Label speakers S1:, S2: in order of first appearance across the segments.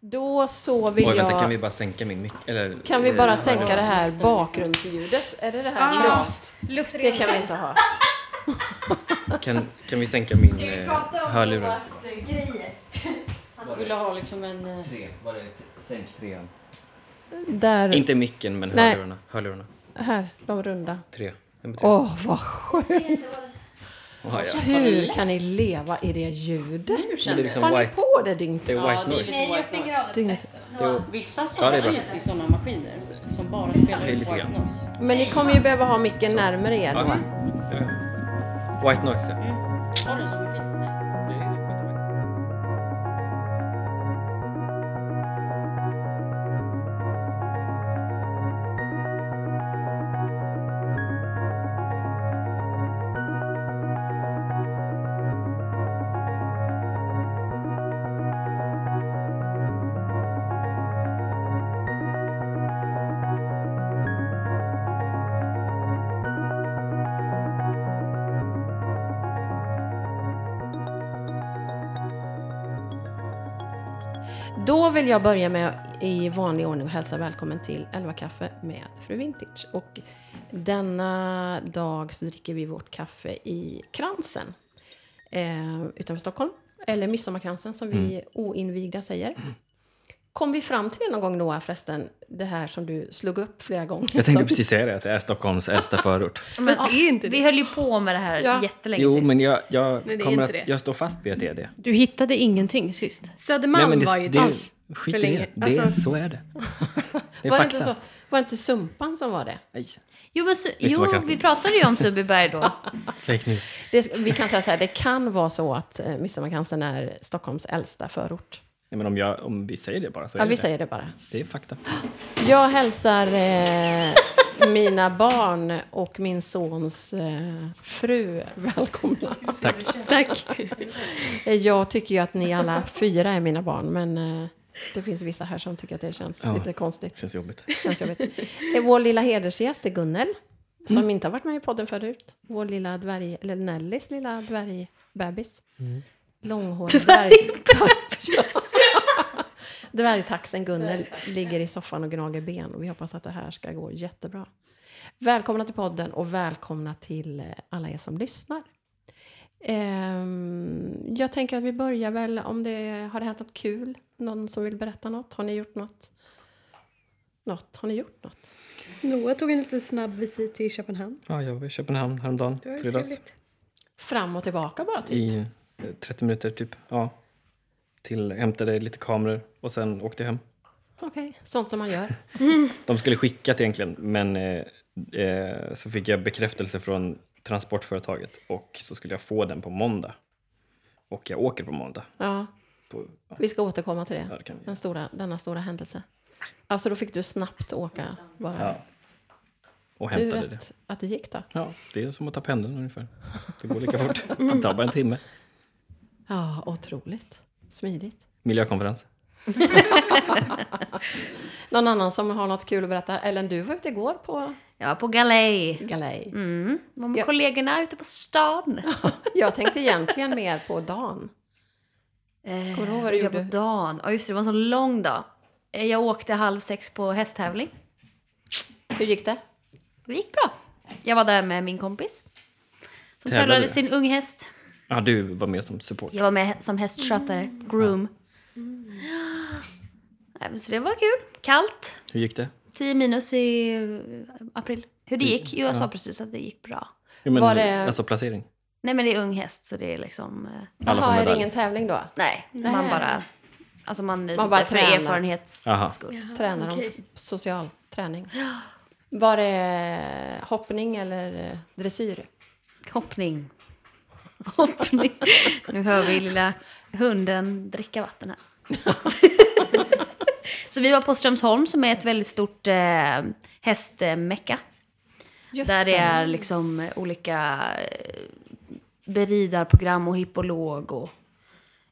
S1: Då så vill
S2: Oj, vänta,
S1: jag...
S2: kan vi bara sänka min mick? Eller,
S1: Kan vi bara
S2: eh,
S1: sänka det här
S3: nästan.
S1: bakgrundsljudet? Är det det här?
S4: Ja.
S1: Luft? Det
S4: Luftrening.
S1: kan vi inte ha.
S2: Kan, kan vi sänka min
S4: Ska vi
S2: eh,
S4: prata om
S2: hörlurar?
S4: Thomas eh, grejer?
S1: Vill ha liksom
S3: eh,
S1: en...
S2: Tre, var det sänk trean?
S1: Där.
S2: Mm. Inte micken, men
S1: Nej.
S2: hörlurarna. hörlurarna.
S1: Här, de runda.
S2: Tre. Nummer tre.
S1: Åh, vad skönt.
S2: Aha, ja.
S1: Hur kan ni leva i det ljudet?
S3: Nu
S2: Men det är
S3: känner
S2: liksom
S1: Har ni
S2: white,
S1: på det dygnet?
S2: det är
S3: Ja,
S2: white
S3: det är
S2: noise.
S3: liksom-
S4: Nej, jag stänger av
S1: Dygnet.
S2: Det är,
S4: det.
S3: jag. Vissa
S2: Ja, det
S3: sådana
S2: är bra.
S3: är till sådana maskiner som bara spelar
S2: Det är
S3: ut
S2: lite
S3: white
S2: grann.
S3: noise.
S1: Men ni kommer ju behöva ha micken närmare er
S2: ja,
S1: då.
S2: det är, white noise, ja.
S3: Mm. Har du en sån maskin? Nej.
S2: Det är-
S1: Då vill jag börja med att i vanlig ordning och hälsa välkommen till 11 kaffe med Fru Vintage. Och denna dag så dricker vi vårt kaffe i Kransen eh, utanför Stockholm. Eller Midsommarkransen som vi
S2: Mm.
S1: oinvigda säger. Kom vi fram till det någon gång Noah förresten? Det här som du slog upp flera gånger.
S2: Jag tänkte
S1: som-
S2: precis säga det, att det är Stockholms äldsta förort.
S5: Men det är inte
S4: ah, Vi
S5: det.
S4: höll ju på med det här
S1: Ja.
S4: jättelänge
S2: Jo,
S4: sist.
S2: men jag, jag,
S5: Nej, det är
S2: kommer
S5: inte
S2: att,
S5: det.
S2: jag står fast vid att det är det.
S5: Du hittade ingenting sist. Södermalm
S2: men
S5: var ju
S2: det,
S5: inte alls
S2: det, skit
S5: för
S2: i
S5: länge.
S2: det. det är-
S5: Alltså-
S2: Så är det. Det är
S1: var, det
S2: fakta.
S1: inte så, var det inte Sumpan som var det?
S2: Nej,
S4: Jo, men, så,
S2: Visst var
S4: jo
S2: katten.
S4: vi pratade ju om Sundbyberg då.
S2: fake news.
S1: det? Vi kan säga så här, det kan vara så att eh, Midsommarkransen är Stockholms äldsta förort.
S2: Nej, men om, jag, om vi säger det bara så är
S1: Ja,
S2: det
S1: vi
S2: det.
S1: säger det bara.
S2: Det är fakta.
S1: Jag hälsar eh, mina barn och min sons eh, fru välkomna.
S2: Tack.
S5: Tack.
S1: Eh, Jag tycker ju att ni alla fyra är mina barn, men eh, det finns vissa här som tycker att det känns
S2: Ja.
S1: lite konstigt.
S2: Känns jobbigt.
S1: Känns jobbigt. Eh, Vår lilla hedersgäst är Gunnel, som inte har varit med i podden förut. Vår lilla dvärg, eller Nellys lilla dvärgbebis. Långhårig dvärgtax. Dvärgtaxen Gunnel ligger i soffan och gnager ben och vi hoppas att det här ska gå jättebra. Välkomna till podden och välkomna till eh, alla er som lyssnar. Ehm, jag tänker att vi börjar väl om det har det hänt något kul? Någon som vill berätta något? Har ni gjort något? Något? Har ni gjort något?
S5: Noah tog en liten snabb visit till Köpenhamn.
S2: Ja, jag var i Köpenhamn häromdagen,
S5: Det var ju
S2: fredags.
S5: trevligt.
S1: Fram och tillbaka bara typ?
S2: I eh, 30 minuter typ. Ja. Till, hämtade lite kameror och sen åkte jag hem.
S1: Okej, sånt som man gör.
S2: De skulle skickat egentligen, men eh, eh, så fick jag bekräftelse från transportföretaget och så skulle jag få den på måndag. Och jag åker på måndag.
S1: Ja,
S2: På, ja,
S1: vi ska återkomma till
S2: ja,
S1: det.
S2: det kan vi.
S1: Den stora, denna stora händelse. Alltså då fick du snabbt åka bara.
S2: Ja. Och
S1: Tur
S2: hämtade det.
S1: att, att det gick då.
S2: Ja, det är som att ta pendeln ungefär. Det går lika fort. Det tar bara en timme.
S1: Ja, otroligt. Smidigt.
S2: Miljökonferens.
S1: Någon annan som har något kul att berätta? Ellen, du var ute igår på
S4: Ja, på galej.
S1: galej.
S4: Mm. Var med
S1: Ja.
S4: kollegorna ute på stan.
S1: Jag tänkte egentligen mer på Dan.
S4: Eh,
S1: Kommer du ihåg vad du
S4: jag
S1: gjorde?
S4: på dagen. Ja, just det. Det var en så lång dag. Eh, Jag åkte halv sex på hästtävling.
S1: Hur gick det?
S4: Det gick bra. Jag var där med min kompis. Som
S2: Tävlade
S4: tävlade
S2: du?
S4: sin ung häst.
S2: Ja, du var med som support.
S4: Jag var med som hästskötare, groom. Mm. Nej, men Så det var kul. Kallt.
S2: Hur gick det?
S4: 10 minus i eh, april. Hur det gick? Jo, jag sa precis att det gick bra.
S2: Jo, men,
S1: Var det-
S2: Alltså placering.
S4: Nej, men det är ung häst så det är liksom... eh,
S2: Alla får
S1: Jaha, är det
S2: medalj.
S1: ingen tävling då?
S4: Nej, man bara... Alltså man,
S1: Man bara
S4: för
S1: tränar.
S4: erfarenhets
S2: Aha.
S4: skull.
S5: Jaha,
S1: Tränar de
S5: okej.
S1: f- social träning? Var det hoppning eller eh, dressyr?
S4: Hoppning. Hoppning. nu hör vi lilla hunden dricka vatten här. så vi var på Strömsholm som är ett väldigt stort eh, hästmecka.
S1: Just
S4: Där det är liksom olika eh, beridarprogram och hippolog och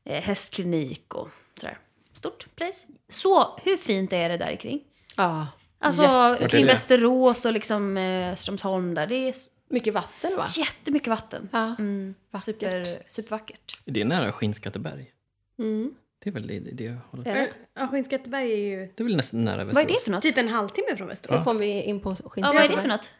S4: eh, hästklinik och sådär. Stort place. Så hur fint är det där kring?
S1: Ja,
S4: Alltså
S2: Vart är
S4: kring
S2: det?
S4: Västerås och liksom eh, Strömsholm där. Det är s-
S1: mycket vatten va?
S4: jättemycket vatten.
S1: Ja,
S4: Mm.
S1: vackert.
S4: Super, supervackert.
S2: Det är nära Skinnskatteberg.
S5: Mm.
S2: Det är väl i det hållet.
S4: Är det?
S5: Eh, Ja, Skinnskatteberg är ju
S2: Det är väl nästan nära Västerås.
S4: Vad är det för något?
S5: typ en halvtimme från Västerås.
S1: Då kom vi in på Skinnskatteberg.
S4: Ja, vad är det för något?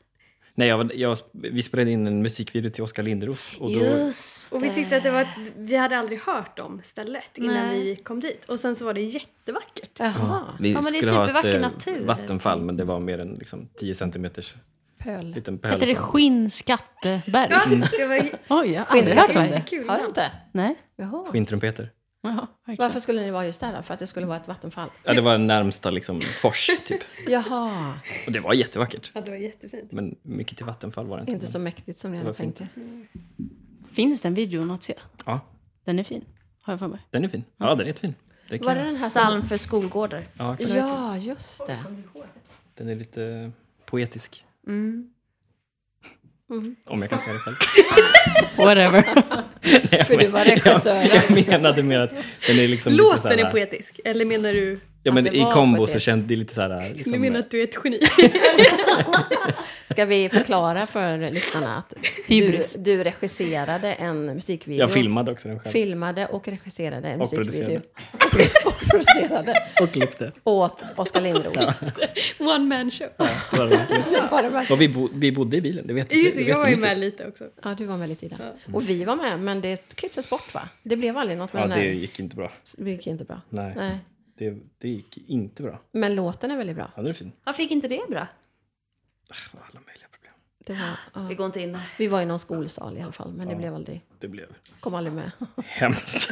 S2: Nej, jag, var- jag, vi spelade in en musikvideo till Oskar Linderos. Och då,
S4: Just
S5: Och vi tyckte att det var, ett- vi hade aldrig hört om stället innan
S4: Nej.
S5: vi kom dit. Och sen så var det jättevackert.
S1: Jaha,
S2: vi
S4: Ja, men det är
S2: skulle ha
S4: supervacker
S2: ett eh,
S4: natur.
S2: vattenfall, men det var mer en liksom, 10 centimeters
S1: pöl.
S2: liten
S6: Heter det
S2: pöl.
S6: Skinnskatteberg? Mm.
S5: Ja,
S2: Mm.
S5: det var
S6: Oj, jag har aldrig hört om Ah, det.
S1: Skinnskatteberg.
S5: Kul
S1: Har du
S5: namn.
S1: inte?
S6: Nej.
S1: Jaha.
S2: Skinttrumpeter.
S6: Jaha, verkligen.
S1: Varför skulle ni vara just där då? För att det skulle vara ett vattenfall?
S2: Ja, det var den närmsta liksom, fors, typ.
S1: Jaha,
S2: Och det var jättevackert.
S5: ja, det var jättefint.
S2: Men mycket till Vattenfall var det inte.
S1: inte så
S2: men-
S1: mäktigt som ni
S2: Det
S1: hade
S2: var fint.
S1: tänkt er.
S6: Finns den videon att se?
S2: Ja,
S6: Den är fin, har jag för mig.
S2: den är fin. Ja, den är jättefin. Det kan...
S1: Var det den här som...
S4: Psalm för skolgårdar.
S2: Ja, exakt.
S1: Ja, just det.
S2: Den är lite poetisk.
S4: Mm.
S2: Om jag kan säga det själv.
S6: Whatever.
S2: Nej,
S1: För
S2: men-
S1: du var regissör.
S2: Jag, jag menade mer att den är liksom lite så
S5: Låten
S2: här,
S5: är poetisk. Eller menar du,
S2: Ja, men
S1: Att det
S2: i
S1: var
S2: kombo så
S1: poetiskt.
S2: känns det lite så här... Liksom,
S5: du menar att du är ett geni?
S1: Ska vi förklara för lyssnarna att du,
S6: Hybris.
S1: du regisserade en musikvideo.
S2: jag filmade också den själv.
S1: Filmade och regisserade en
S2: Och
S1: musikvideo. och producerade.
S2: och klippte.
S1: Åt Oskar Lindros.
S5: One man show.
S2: Ja, det var det verkligen.
S1: Så var det verkligen-
S2: och vi, bo, vi bodde i bilen, det vet
S5: Just det,
S2: vet
S5: jag var ju
S2: mysigt.
S5: med lite också.
S1: Ja, du var med lite i den. Och vi var med, men det klipptes bort va? Det blev aldrig något med
S2: Ja,
S1: den
S2: det
S1: här.
S2: gick inte bra.
S1: Det gick inte bra.
S2: Nej,
S1: Nej.
S2: Det, det gick inte bra.
S1: Men låten är väldigt bra.
S2: Ja, den är fin.
S4: Varför gick inte det bra?
S2: Ah, Alla möjliga problem.
S1: Det var, ja.
S4: Vi går inte in där.
S1: Vi var i någon skolsal i alla fall, men det blev aldrig,
S2: Det blev
S1: kom aldrig med.
S2: hemskt.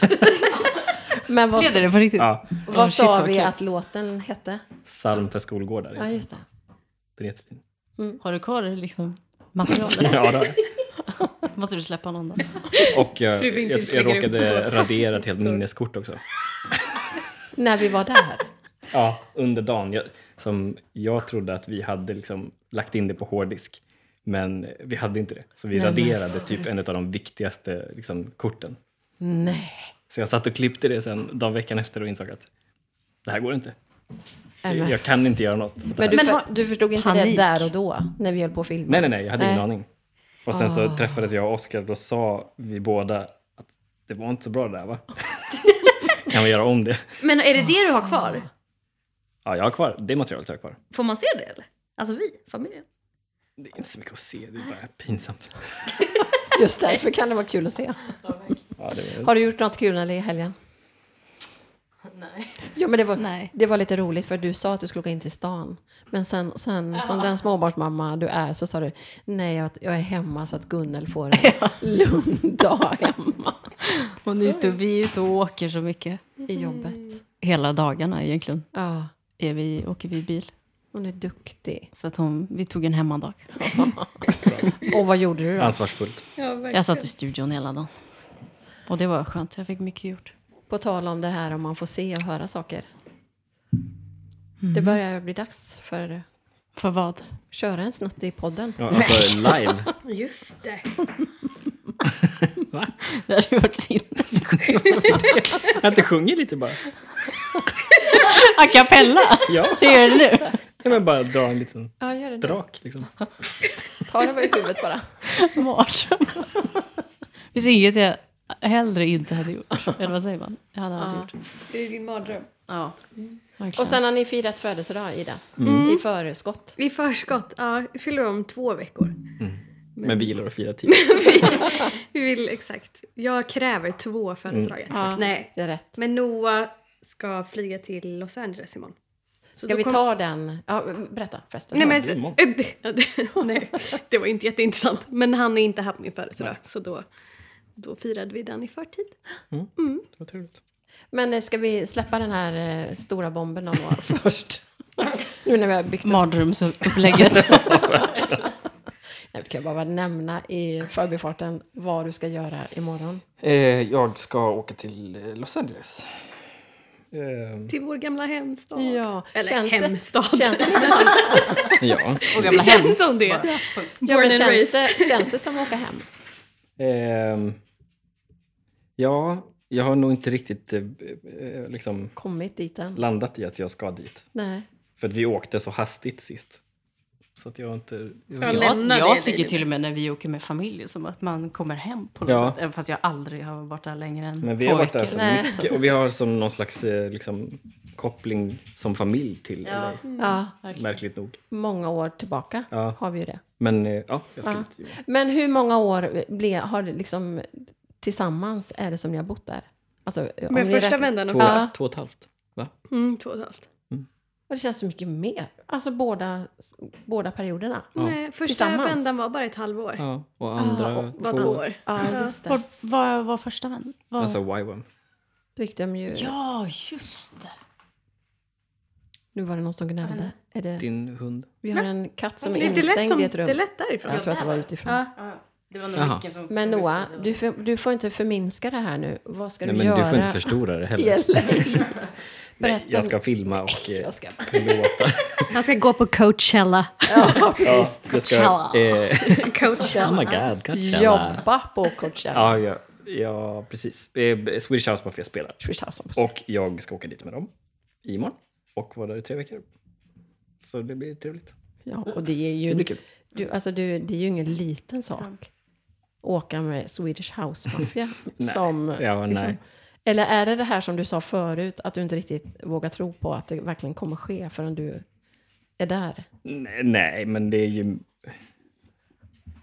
S1: Men vad,
S6: Blev det det på riktigt?
S2: ja,
S1: vad
S6: shit,
S1: sa
S6: vad
S1: vi
S6: kul.
S1: att låten hette?
S2: Psalm för skolgårdar.
S1: Ja, just det.
S2: Den är jättefin.
S6: Har du kvar liksom materialet?
S2: Ja, då.
S6: Måste du släppa någon då?
S2: Och jag,
S5: Fru
S2: jag,
S5: Winkels
S2: jag
S5: lägger upp.
S2: råkade radera ett helt minneskort också.
S1: När vi var där.
S2: Ja, under dagen. Jag, som jag trodde att vi hade liksom lagt in det på hårddisk. Men vi hade inte det. Så vi
S1: Nej, men
S2: raderade typ en av de viktigaste liksom, korten.
S1: Nej,
S2: Så jag satt och klippte det sen dagen veckan efter och insåg att det här går inte.
S1: Nej, men-
S2: Jag kan inte göra något. åt
S1: Men
S2: det här.
S1: du,
S4: Men
S1: för,
S4: vad-
S1: du förstod inte
S6: Panik.
S1: det där och då, när vi höll på att filma?
S2: Nej, nej, nej, jag hade ingen
S1: Nej.
S2: aning. Och sen så
S1: Ah.
S2: träffades jag och Oskar och då sa vi båda att det var inte så bra det där va? kan vi göra om det?
S4: Men är det det du har kvar?
S2: Ja, jag har kvar det materialet jag har kvar.
S4: Får man se det eller? Alltså vi, familjen.
S2: Det är inte så mycket att se, det är bara pinsamt.
S1: Just därför kan det vara kul att se.
S2: Ja, det var...
S1: Har du gjort något kul när det är i helgen? Nej. Ja, men det, var,
S6: Nej.
S1: det var lite roligt för du sa att du skulle gå in till stan. Men sen, sen som den småbarnsmamma du är så sa du nej, jag, jag är hemma så att Gunnel får en lugn dag hemma
S6: Hon är ute och vi är ute och åker så mycket.
S1: i jobbet.
S6: Hela dagarna egentligen
S1: Ja,
S6: är vi, åker vi bil.
S1: hon är duktig.
S6: Så att hon, vi tog en hemmadag.
S1: Och vad gjorde du då?
S2: Ansvarsfullt.
S5: Ja, verkligen.
S6: Jag satt i studion hela dagen. Och det var skönt, jag fick mycket gjort.
S1: På tal om det här om man får se och höra saker.
S5: Mm.
S1: Det börjar bli dags för
S6: För vad?
S1: köra en snutt i podden.
S2: Ja, alltså live.
S5: Just det.
S6: Det hade varit sinnessjukt.
S2: Jag inte sjunger lite bara.
S6: A cappella!
S2: Ja,
S6: Det gör det nu.
S2: jag men bara dra en liten
S1: Ja, gör det. nu.
S2: drak liksom.
S1: Ta det bara i huvudet bara.
S6: Varsam. Det finns inget jag hellre inte hade gjort. Eller vad säger man? Jag hade aldrig
S1: Ja.
S6: gjort.
S5: Det är din mardröm.
S6: Ja, verkligen.
S1: Och sen har ni firat födelsedag, Ida. I förskott.
S5: I förskott. Ja, vi fyller om två veckor.
S2: Men vi gillar att fira tid.
S5: Vi vill exakt. Jag kräver två födelsedagar.
S2: Mm.
S1: Ja.
S5: Nej.
S1: Det är rätt.
S5: Men Noah ska flyga till Los Angeles imorgon. Så
S1: Ska
S5: då
S1: vi
S5: kom-
S1: ta den? Ja, berätta förresten.
S5: Nej, men,
S2: det är imorgon.
S5: eh, det- ja, det- nej, det var inte jätteintressant. Men han är inte här på min födelsedag. Så då, då firade vi den i förtid.
S2: Vad trevligt.
S1: Men eh, ska vi släppa den här eh, stora bomben om år först? nu när vi har byggt upp.
S6: Mardrömsupplägget.
S1: Nej, Du kan bara bara nämna i förbifarten vad du ska göra imorgon.
S2: Eh, jag ska åka till eh, Los Angeles. Eh,
S5: Till vår gamla hemstad.
S1: Ja,
S5: Eller
S1: känns det-
S5: hemstad.
S1: Känns det, lite,
S2: ja.
S5: det känns som det.
S1: ja, men känns, det, känns det som att åka hem?
S2: Ehm, ja, jag har nog inte riktigt eh, eh, liksom
S1: Kommit dit än?
S2: landat i att jag ska dit.
S1: Nej.
S2: För att vi åkte så hastigt sist. Så att jag inte...
S5: Ja,
S2: Jag,
S5: lämna
S6: Jag,
S5: det
S6: jag
S5: livet.
S6: tycker till och med när vi åker med familj som att man kommer hem på något
S2: Ja.
S6: sätt. Även fast jag aldrig har varit där längre än
S2: men vi
S6: två
S2: har varit där
S6: veckor.
S2: så
S1: Nej.
S2: mycket och vi har som någon slags eh, liksom, koppling som familj till LA,
S5: Mm.
S1: Ja,
S2: märkligt nog.
S1: många år tillbaka
S2: Ja.
S1: har vi ju det.
S2: Men eh, ja, jag ska
S1: Ja.
S2: inte...
S1: Men hur många år ble, har det liksom tillsammans är det som ni har bott där? Alltså, om
S5: Med
S1: ni
S5: första
S1: räknar-
S5: vändan
S2: Två,
S5: också.
S1: Ja.
S2: två och ett halvt. Va?
S5: Mm, två och ett halvt.
S1: Och Det känns så mycket mer. Alltså båda, båda perioderna.
S2: Ja.
S5: Nej, första
S1: Tillsammans.
S5: vändan var bara ett halvår.
S2: Ja, och andra
S1: Ah, och
S5: Var
S2: två.
S5: två år.
S1: Ja, just det.
S6: Var, var, var första vän? Var...
S2: Alltså YWAM.
S1: Då gick de ju...
S6: ja, just det.
S1: Nu var det någon som gnällde. Är det,
S2: Din hund.
S1: vi har en katt som är
S5: det, är inte lätt
S1: instängd
S5: som,
S1: i ett rum.
S5: det är lätt därifrån.
S1: Jag tror att det var utifrån.
S5: Ja.
S3: Ja, det var
S2: Jaha.
S3: nog mycket som...
S1: Men Noah, du, för, du får inte förminska det här nu. Vad ska
S2: Nej,
S1: du
S2: men
S1: göra?
S2: du får inte förstora det heller.
S1: Eller-
S2: Nej,
S1: Berätta.
S2: jag ska filma och eh,
S1: Jag ska...
S2: låta.
S5: Han ska gå på Coachella.
S1: Ja,
S2: Ja,
S1: precis.
S2: jag ska, eh,
S5: Coachella.
S2: oh my god, Coachella.
S1: Jobba på Coachella.
S2: Ja, ja, ja precis. Eh, Swedish House Mafia spelar.
S1: Swish house också.
S2: Och jag ska åka dit med dem imorgon och vara där i tre veckor. Så det blir trevligt.
S1: Ja, och det är ju...
S2: Det blir kul.
S1: Du, alltså du, det är ju ingen liten sak. Åka med Swedish House Mafia. som,
S2: Ja,
S1: liksom-
S2: nej.
S1: Eller är det det här som du sa förut, att du inte riktigt vågar tro på att det verkligen kommer ske förrän du är där?
S2: Nej, nej, men det är ju...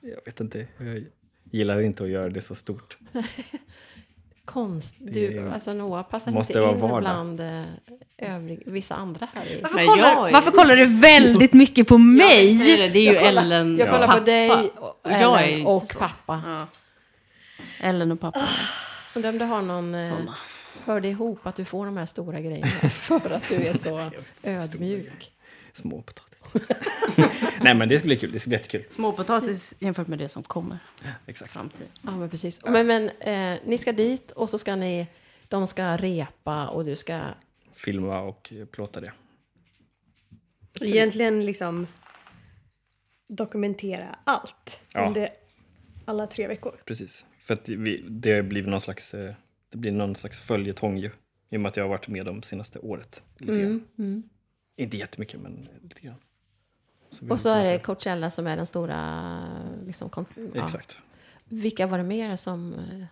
S2: Jag vet inte. Jag gillar inte att göra det så stort.
S1: Konst,
S2: Det
S1: du,
S2: är-
S1: alltså Noah passar
S2: måste
S1: inte
S2: vara
S1: in
S2: vardag.
S1: bland eh, övrig, vissa andra här i.
S4: Varför,
S6: Nej, jag
S4: kollar,
S6: är-
S4: varför kollar du väldigt mycket på mig?
S6: Nej, det, det är ju
S1: Jag kollar,
S6: Ellen
S1: jag kollar
S6: pappa.
S1: på dig och,
S6: Och jag är
S1: Ellen
S6: inte
S1: och
S6: så.
S1: pappa.
S6: Ja. Ellen och pappa.
S1: Undrar om du har någon... Eh,
S6: Såna.
S1: hör det ihop att du får de här stora grejerna för att du är så ödmjuk?
S2: Små potatis. nej, men det ska bli kul. Det ska bli jättekul.
S6: Småpotatis jämfört med det som kommer i
S2: Exakt.
S6: framtiden.
S1: Ja, men precis. Men, men eh, ni ska dit och så ska ni, de ska repa och du ska...
S2: Filma och plåta det.
S5: Egentligen liksom dokumentera allt
S2: Ja.
S5: under alla tre veckor.
S2: Precis. För att vi, det blir någon slags, eh, det blir någon slags följetong ju. I och med att jag har varit med de senaste året. Lite
S1: Mm,
S2: grann. Inte jättemycket, men lite grann. vi
S1: Och så
S2: har-
S1: är det Coachella som är den stora... Liksom, konst, ja.
S2: Exakt.
S1: Vilka var det mer som eh,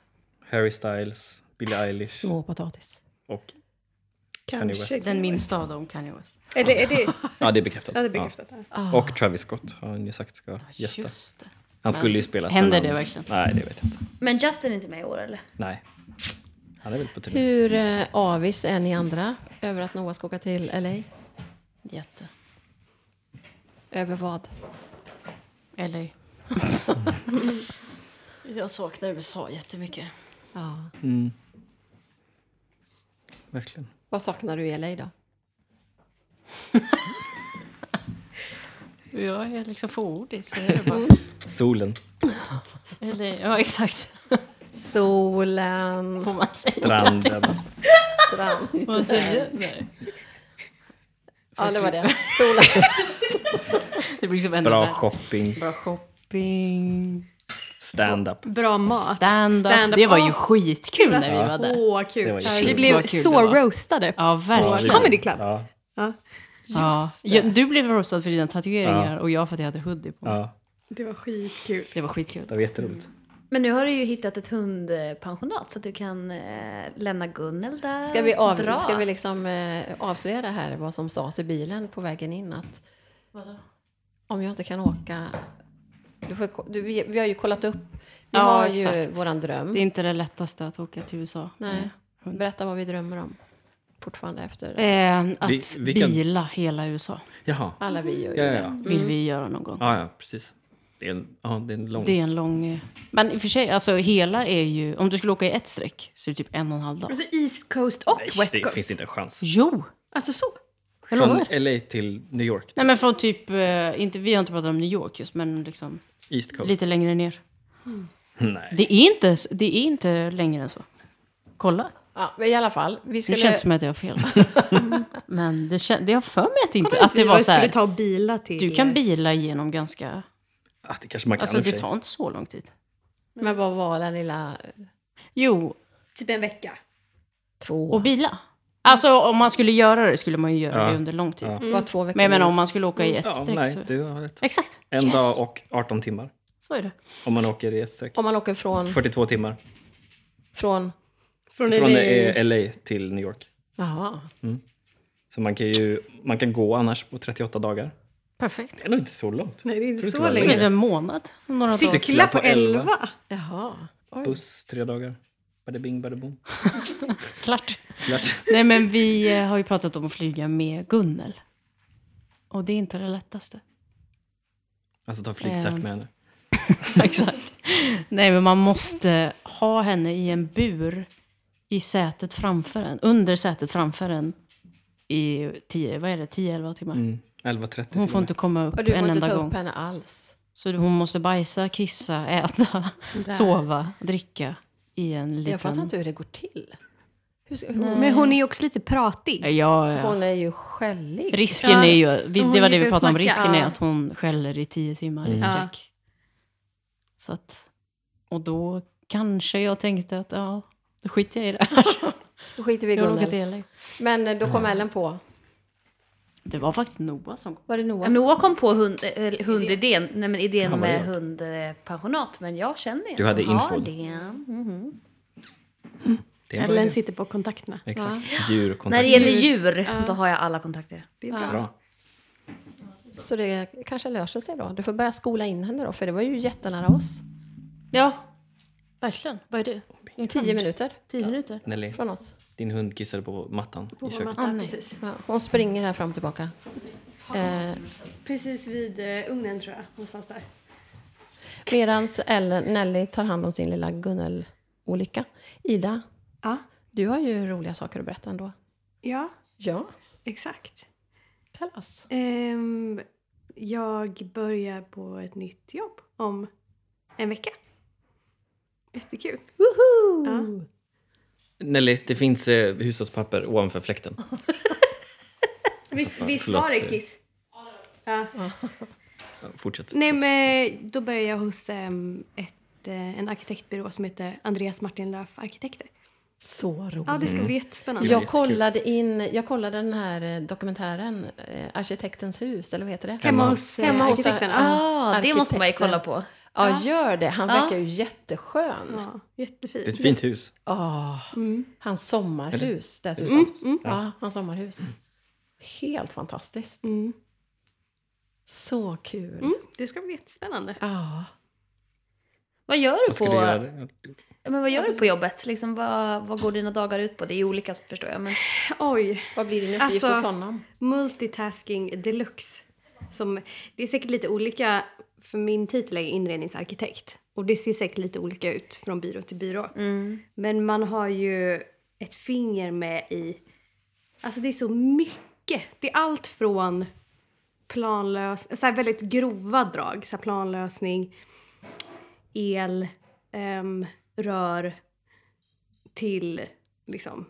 S2: Harry Styles, Billie Eilish
S1: små potatis?
S2: och... Kanye
S5: Kanske.
S2: West.
S6: Den minsta av dem kan jag också.
S5: Eller är det...
S2: Ja, det är bekräftat.
S5: Ja, det är bekräftat. Ja.
S1: Ah,
S2: Ja. Och Travis Scott har han ju sagt ska gästa.
S6: Just det.
S2: Han
S6: Men
S2: skulle ju spela.
S6: händer
S2: men han-
S6: det verkligen?
S2: Nej, det vet jag inte.
S4: Men Justin är inte med i år eller?
S2: Nej. Han är väl på turné.
S1: Hur eh, avis är ni andra över att Noah ska åka till LA?
S6: Jätte.
S1: Över vad?
S6: LA. jag saknar USA jättemycket.
S1: Ja.
S2: Mm. Verkligen.
S1: Vad saknar du i LA då?
S6: Jag är liksom fåordig så är det bara.
S2: Solen,
S6: LA, ja exakt.
S1: Solen,
S6: Får man säga.
S2: stranden.
S1: strand.
S6: Vad säger jag? Nej.
S1: Ja, det var det. Solen.
S6: Det blir liksom ännu
S2: Bra
S6: värre.
S2: shopping,
S6: Bra shopping.
S2: stand-up.
S5: Bra mat.
S6: Stand-up.
S5: Stand-up.
S6: det var ju
S5: Ah,
S6: skitkul när vi var där.
S5: Åh,
S2: Det
S5: kul.
S2: var ju
S5: Vi
S2: kul.
S5: blev
S6: Så kul
S5: så
S6: det var.
S5: roastade.
S6: Ja,
S2: Ja,
S6: verkligen.
S2: det-
S5: Comedy Club.
S2: Ja,
S5: Ja,
S6: Ja. Ja, du blev roastad för dina tatueringar och jag för att jag hade hoodie på mig.
S2: ja,
S5: det var skitkul.
S6: Det var skitkul.
S2: det var jätteroligt.
S4: Men nu har du ju hittat ett hundpensionat så att du kan eh, lämna Gunnel där.
S1: Ska vi, av,
S4: Dra.
S1: ska vi liksom, eh, avslöja det här, vad som sades i bilen på vägen in? Att om jag inte kan åka... Du får, ko- du, vi, vi har ju kollat upp, vi
S6: Ja,
S1: har ju
S6: exakt.
S1: våran dröm.
S6: Det är inte det lättaste att åka till USA.
S1: Nej. Mm. Berätta vad vi drömmer om fortfarande efter.
S6: Eh, att
S2: Vi- vi kan-
S6: bila hela USA
S2: Jaha.
S1: Alla vi gör ju
S2: Ja, ja,
S1: det.
S2: ja.
S5: Mm.
S6: vill vi göra någon gång.
S2: Ja, ja, precis. Det är en, ja, det är en lång...
S6: Det är en lång... eh, Men i och för sig, alltså hela är ju... Om du skulle åka i ett streck så är det typ en och en halv dag.
S5: Alltså East Coast och
S2: Nej,
S5: West
S2: det
S5: Coast.
S2: finns inte en chans.
S6: Jo!
S5: Alltså så.
S6: Jag
S2: Från
S6: lovar.
S2: LA till New York,
S6: Nej men från typ, eh, inte, vi har inte pratat om New York just, men liksom
S2: East Coast.
S6: lite längre ner.
S2: Nej.
S6: Det är inte, s- det är inte längre än så. Kolla.
S1: Ja, men I alla fall, vi
S6: Det
S1: skulle...
S6: känns som att jag har fel. men det, kän, det har för mig att, inte,
S5: Vet
S6: att det
S5: vi
S6: var
S5: vad vi
S6: så här.
S5: skulle ta och bila till... eh,
S6: Du kan bila igenom ganska...
S2: Ah, det kanske man kan
S6: Alltså
S2: i och för
S6: det
S2: sig.
S6: tar inte så lång tid.
S1: Men vad var den lilla...
S6: Jo,
S5: Typ en vecka.
S1: Två...
S6: och bila. Alltså om man skulle göra det skulle man ju göra
S2: Ja.
S6: det under lång tid.
S2: Ja.
S1: Var två veckor
S6: Men jag menar om
S1: minst.
S6: man skulle åka i ett
S2: Ja,
S6: streck
S2: nej,
S6: så...
S2: du har rätt.
S6: Exakt!
S2: En
S6: Yes.
S2: dag och 18 timmar.
S6: Så är det.
S2: Om man åker i ett streck.
S1: Om man åker från...
S2: 42 timmar.
S1: från
S5: Från,
S2: Från
S5: LA.
S2: eh, LA till New York.
S1: jaha,
S2: Så man kan ju man kan gå annars på 38 dagar.
S6: Perfekt.
S2: Det är nog inte så långt.
S5: Nej, det är
S2: Tror
S5: inte
S2: inte
S5: så
S2: man
S6: Det blir
S5: länge.
S6: så en månad. om Några dagar.
S2: Cykel.
S5: Cykla på
S2: på elva.
S5: 11?
S1: jaha. Oj.
S2: Buss, tre dagar. Bada bing, bada boom.
S6: Klart.
S2: Klart.
S6: Nej men vi eh, har ju pratat om att flyga med Gunnel. Och det är inte det lättaste.
S2: Alltså ta flygcert med henne.
S6: Exakt. Nej men man måste ha henne i en bur i sätet framför en. Under sätet framför en. I 10, vad är det, 10-11 timmar.
S2: Mm. 11.30 till
S6: Hon
S2: och
S6: får
S2: med.
S6: inte komma upp
S1: Och du får
S6: en
S1: inte
S6: enda
S1: ta
S6: gång.
S1: upp henne alls.
S6: Så hon måste bajsa, kissa, äta, sova, dricka i en liten...
S1: Jag fattar inte hur det går till. Hur ska, hon,
S5: Mm. Men hon är ju också lite pratig.
S6: Ja, ja. ja.
S1: hon är ju skällig.
S6: Risken
S5: Ja,
S6: är ju, vi,
S5: hon
S6: det var det vi
S5: inte
S6: pratade om,
S5: snackar,
S6: risken är
S5: ja.
S6: att hon skäller i tio timmar i
S2: Mm.
S5: Ja.
S6: sträck. Så att, och då kanske jag tänkte att ja, då skiter jag i det här.
S1: Då skiter vi i
S6: Jag har åkat
S1: Gunnel.
S6: till LA.
S1: Men eh, då kom Ellen på.
S6: Det var faktiskt Noah som kom.
S1: Var det Noah?
S4: Ja, Noah kom på hund, eh, hundidén, nej men idén
S2: Ja, vad
S4: med
S2: gör.
S4: hundpensionat, men jag känner en
S2: Du hade
S4: som har
S2: infon.
S4: det. Mhm.
S2: Det är en bra
S5: Ellen
S2: idé.
S5: sitter på kontakterna.
S2: Exakt. Djurkontakt.
S4: När det gäller djur, då har jag alla kontakter.
S5: Det är bra.
S2: Bra.
S1: Så det kanske löser sig då. Du får börja skola in henne då, för det var ju jättenära oss.
S6: Ja, verkligen. Vad är det? En
S1: Tio
S6: kvart,
S1: minuter
S6: Tio minuter?
S2: Nelly,
S1: från oss.
S2: din hund kissade på mattan i köket.
S5: Ja, precis.
S1: Ja, hon springer här fram och tillbaka. Eh,
S5: precis vid eh, ugnen tror jag. Någonstans där.
S1: Medan Ellen, Nelly tar hand om sin lilla Gunnel-olycka. Ida,
S5: Ja.
S1: du har ju roliga saker att berätta ändå.
S5: Ja,
S1: Ja,
S5: exakt.
S1: kalas.
S5: Ehm, jag börjar på ett nytt jobb om en vecka. Jättekul. Woho! Ja.
S2: Nelly, det finns eh, hushållspapper ovanför fläkten.
S5: Visst, visst
S2: Förlåt.
S5: var det kiss? Ja.
S2: Ja, Fortsätt.
S5: Nej, men då började jag hos ehm, ett, eh, en arkitektbyrå som heter Andreas Martin Löf Arkitekter.
S1: Så roligt.
S5: Ja, det ska bli jättespännande.
S2: Mm. Ja.
S1: Jag kollade, in, jag kollade den här eh, dokumentären, eh, Arkitektens hus, eller vad heter det?
S5: Hemma hos eh,
S1: Hemma hos
S5: arkitekten.
S1: ar-
S5: Ja.
S4: Ah, det måste man ju
S1: Arkitekten.
S4: kolla på.
S1: Ja, gör det. Han
S4: Ja.
S1: verkar ju jätteskön.
S5: ja,
S2: Det är ett
S5: jättefint.
S2: fint hus.
S1: Åh,
S5: Mm.
S1: hans sommarhus dessutom.
S5: Mm, mm,
S1: Ja, hans sommarhus. Helt fantastiskt.
S5: mm.
S1: Så kul.
S5: Mm, det ska bli jättespännande.
S1: Ja.
S4: Vad gör du
S2: Vad ska
S4: på,
S2: du göra?
S4: Ja, men vad gör du på jobbet? Liksom, vad, vad går dina dagar ut på? Det är ju olika förstår jag. Men...
S5: Oj,
S1: Vad blir din uppgift
S5: Alltså-
S1: hos honom?
S5: multitasking deluxe. Som, det är säkert lite olika, för min titel är ju inredningsarkitekt. Och det ser säkert lite olika ut från byrå till byrå.
S4: Mm.
S5: Men man har ju ett finger med i... Alltså det är så mycket. Det är allt från planlös... Så här väldigt grova drag. Så här planlösning, el, ehm, rör till liksom...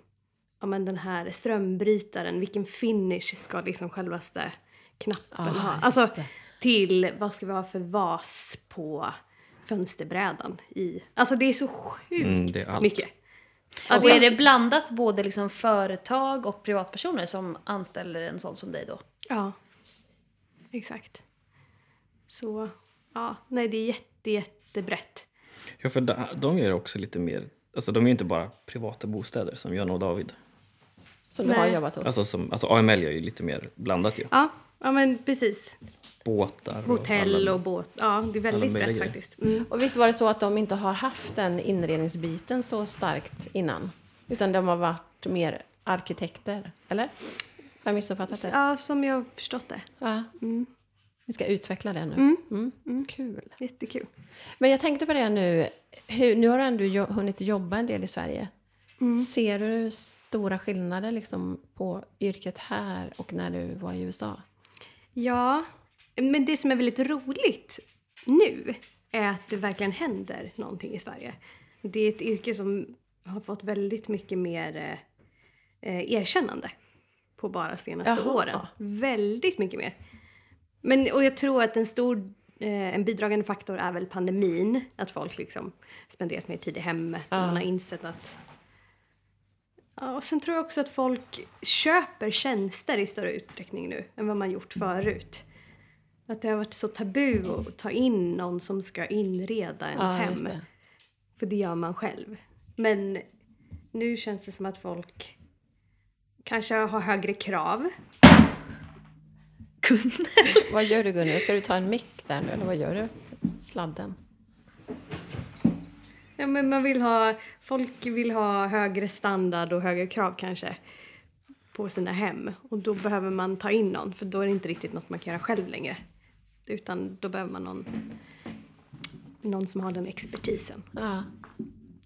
S5: Ja men den här strömbrytaren, vilken finish ska liksom självaste knappen
S1: Ah,
S5: ha?
S1: just
S5: Alltså
S1: det.
S5: till vad ska vi ha för vas på fönsterbrädan i... Alltså det är så sjukt
S2: Mm, det är allt.
S5: mycket.
S4: Och är det blandat både liksom företag och privatpersoner som anställer en sån som dig då?
S5: Ja, exakt. Så, ja, nej det är jätte, jättebrett.
S2: Ja, för de, de gör också lite mer... Alltså de är ju inte bara privata bostäder som Jonna och David.
S1: Som du har
S5: Nej.
S1: jobbat hos.
S2: Alltså, som, alltså AML gör ju lite mer blandat ju.
S5: Ja, ja men precis.
S2: Båtar
S5: Hotell
S2: alla-
S5: och båt. Ja, det är
S2: möjliga
S5: väldigt brett
S2: grejer.
S5: faktiskt. Mm.
S1: och visst var det så att de inte har haft den inredningsbiten så starkt innan? Utan de har varit mer arkitekter, eller? Har jag missuppfattat det?
S5: Ja, som jag har förstått det.
S1: Ja.
S5: Mm.
S1: Vi ska utveckla det nu. Mm. Kul.
S5: Jättekul.
S1: Men jag tänkte på det nu. Hur, nu har du ändå jo- hunnit jobba en del i Sverige. Ser du stora skillnader liksom på yrket här och när du var i USA?
S5: Ja, men det som är väldigt roligt nu är att det verkligen händer någonting i Sverige. Det är ett yrke som har fått väldigt mycket mer eh, eh, erkännande på bara senaste
S1: Jaha.
S5: åren. Väldigt mycket mer. Men, och jag tror att en stor eh, en bidragande faktor är väl pandemin. Att folk liksom spenderat mer tid i hemmet och
S1: Ja.
S5: man har insett att Ja, och sen tror jag också att folk köper tjänster i större utsträckning nu än vad man gjort förut. Att det har varit så tabu att ta in någon som ska inreda ens
S1: Ja,
S5: hem.
S1: just det.
S5: För det gör man själv. Men nu känns det som att folk kanske har högre krav.
S1: Vad gör du Gunnel? Ska du ta en mick där nu eller vad gör du? Sladden.
S5: Ja, men man vill ha, folk vill ha högre standard och högre krav kanske på sina hem. Och då behöver man ta in någon för då är det inte riktigt något man kan göra själv längre. Utan då behöver man någon, någon som har den expertisen.
S1: Ja.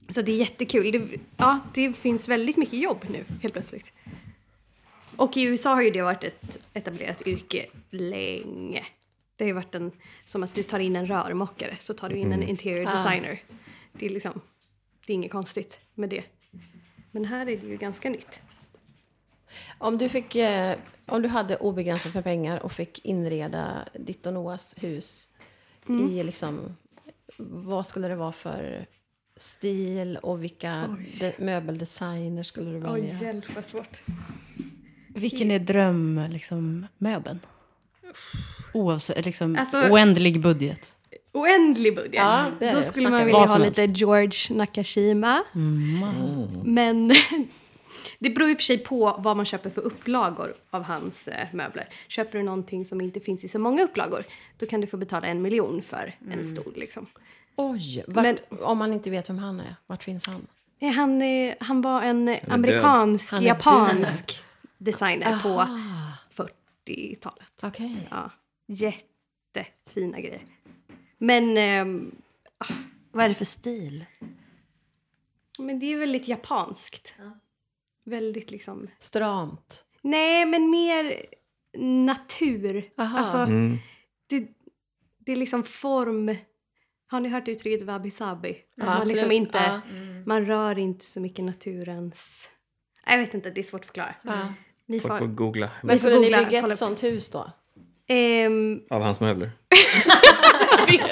S5: Så det är jättekul. Det, ja, det finns väldigt mycket jobb nu helt plötsligt. Och i USA har ju det varit ett etablerat yrke länge. Det har ju varit en, som att du tar in en rörmokare så tar du in en interior designer. Det är liksom, det är inget konstigt med det. Men här är det ju ganska nytt.
S1: Om, du fick, eh, om du hade obegränsat med pengar och fick inreda ditt och Noahs hus i
S5: Mm.
S1: liksom, vad skulle det vara för stil och vilka de, möbeldesigner skulle du välja?
S5: hjälp vad svårt.
S6: Vilken är drömmöbeln? Liksom, möbeln? Oavsett, liksom,
S5: Alltså-
S6: oändlig budget.
S5: Oändlig budget.
S1: Ja, det är
S5: Då
S1: det.
S5: skulle
S1: Snacka
S5: man vilja
S6: vad
S5: ha
S6: som helst.
S5: lite George Nakashima.
S1: Mm.
S5: Men Mm. det beror ju för sig på vad man köper för upplagor av hans eh, möbler. Köper du någonting som inte finns i så många upplagor, då kan du få betala en miljon för
S1: Mm.
S5: en stol. Liksom.
S1: Oj, vart, om man inte vet vem han är, vart finns han?
S5: Nej, han, eh, han var en eh,
S2: död.
S1: Han är
S5: amerikansk-japansk designer på
S1: Ah,
S5: 40-talet.
S1: Okej.
S5: Ja, jättefina grejer. Men, ehm,
S4: Vad är det för stil?
S5: men det är väldigt japanskt. Väldigt liksom...
S1: Stramt.
S5: Nej, men mer natur.
S1: Aha.
S5: Alltså,
S2: Mm.
S5: det, det är liksom form... Har ni hört uttrycket wabi-sabi?
S1: Ja,
S5: man, liksom
S1: absolut.
S5: inte,
S1: Ja.
S4: Mm.
S5: man rör inte så mycket naturens... Jag vet inte, det är svårt att förklara.
S1: Ja.
S5: Ni
S2: Folk får
S5: får,
S2: googla
S1: Men
S5: Mm. Vi
S1: skulle
S5: får
S1: ni
S5: googla,
S1: bygga
S5: kolla
S1: ett
S5: upp.
S1: sånt hus då?
S5: Ehm,
S2: av hans möbler.
S5: nej,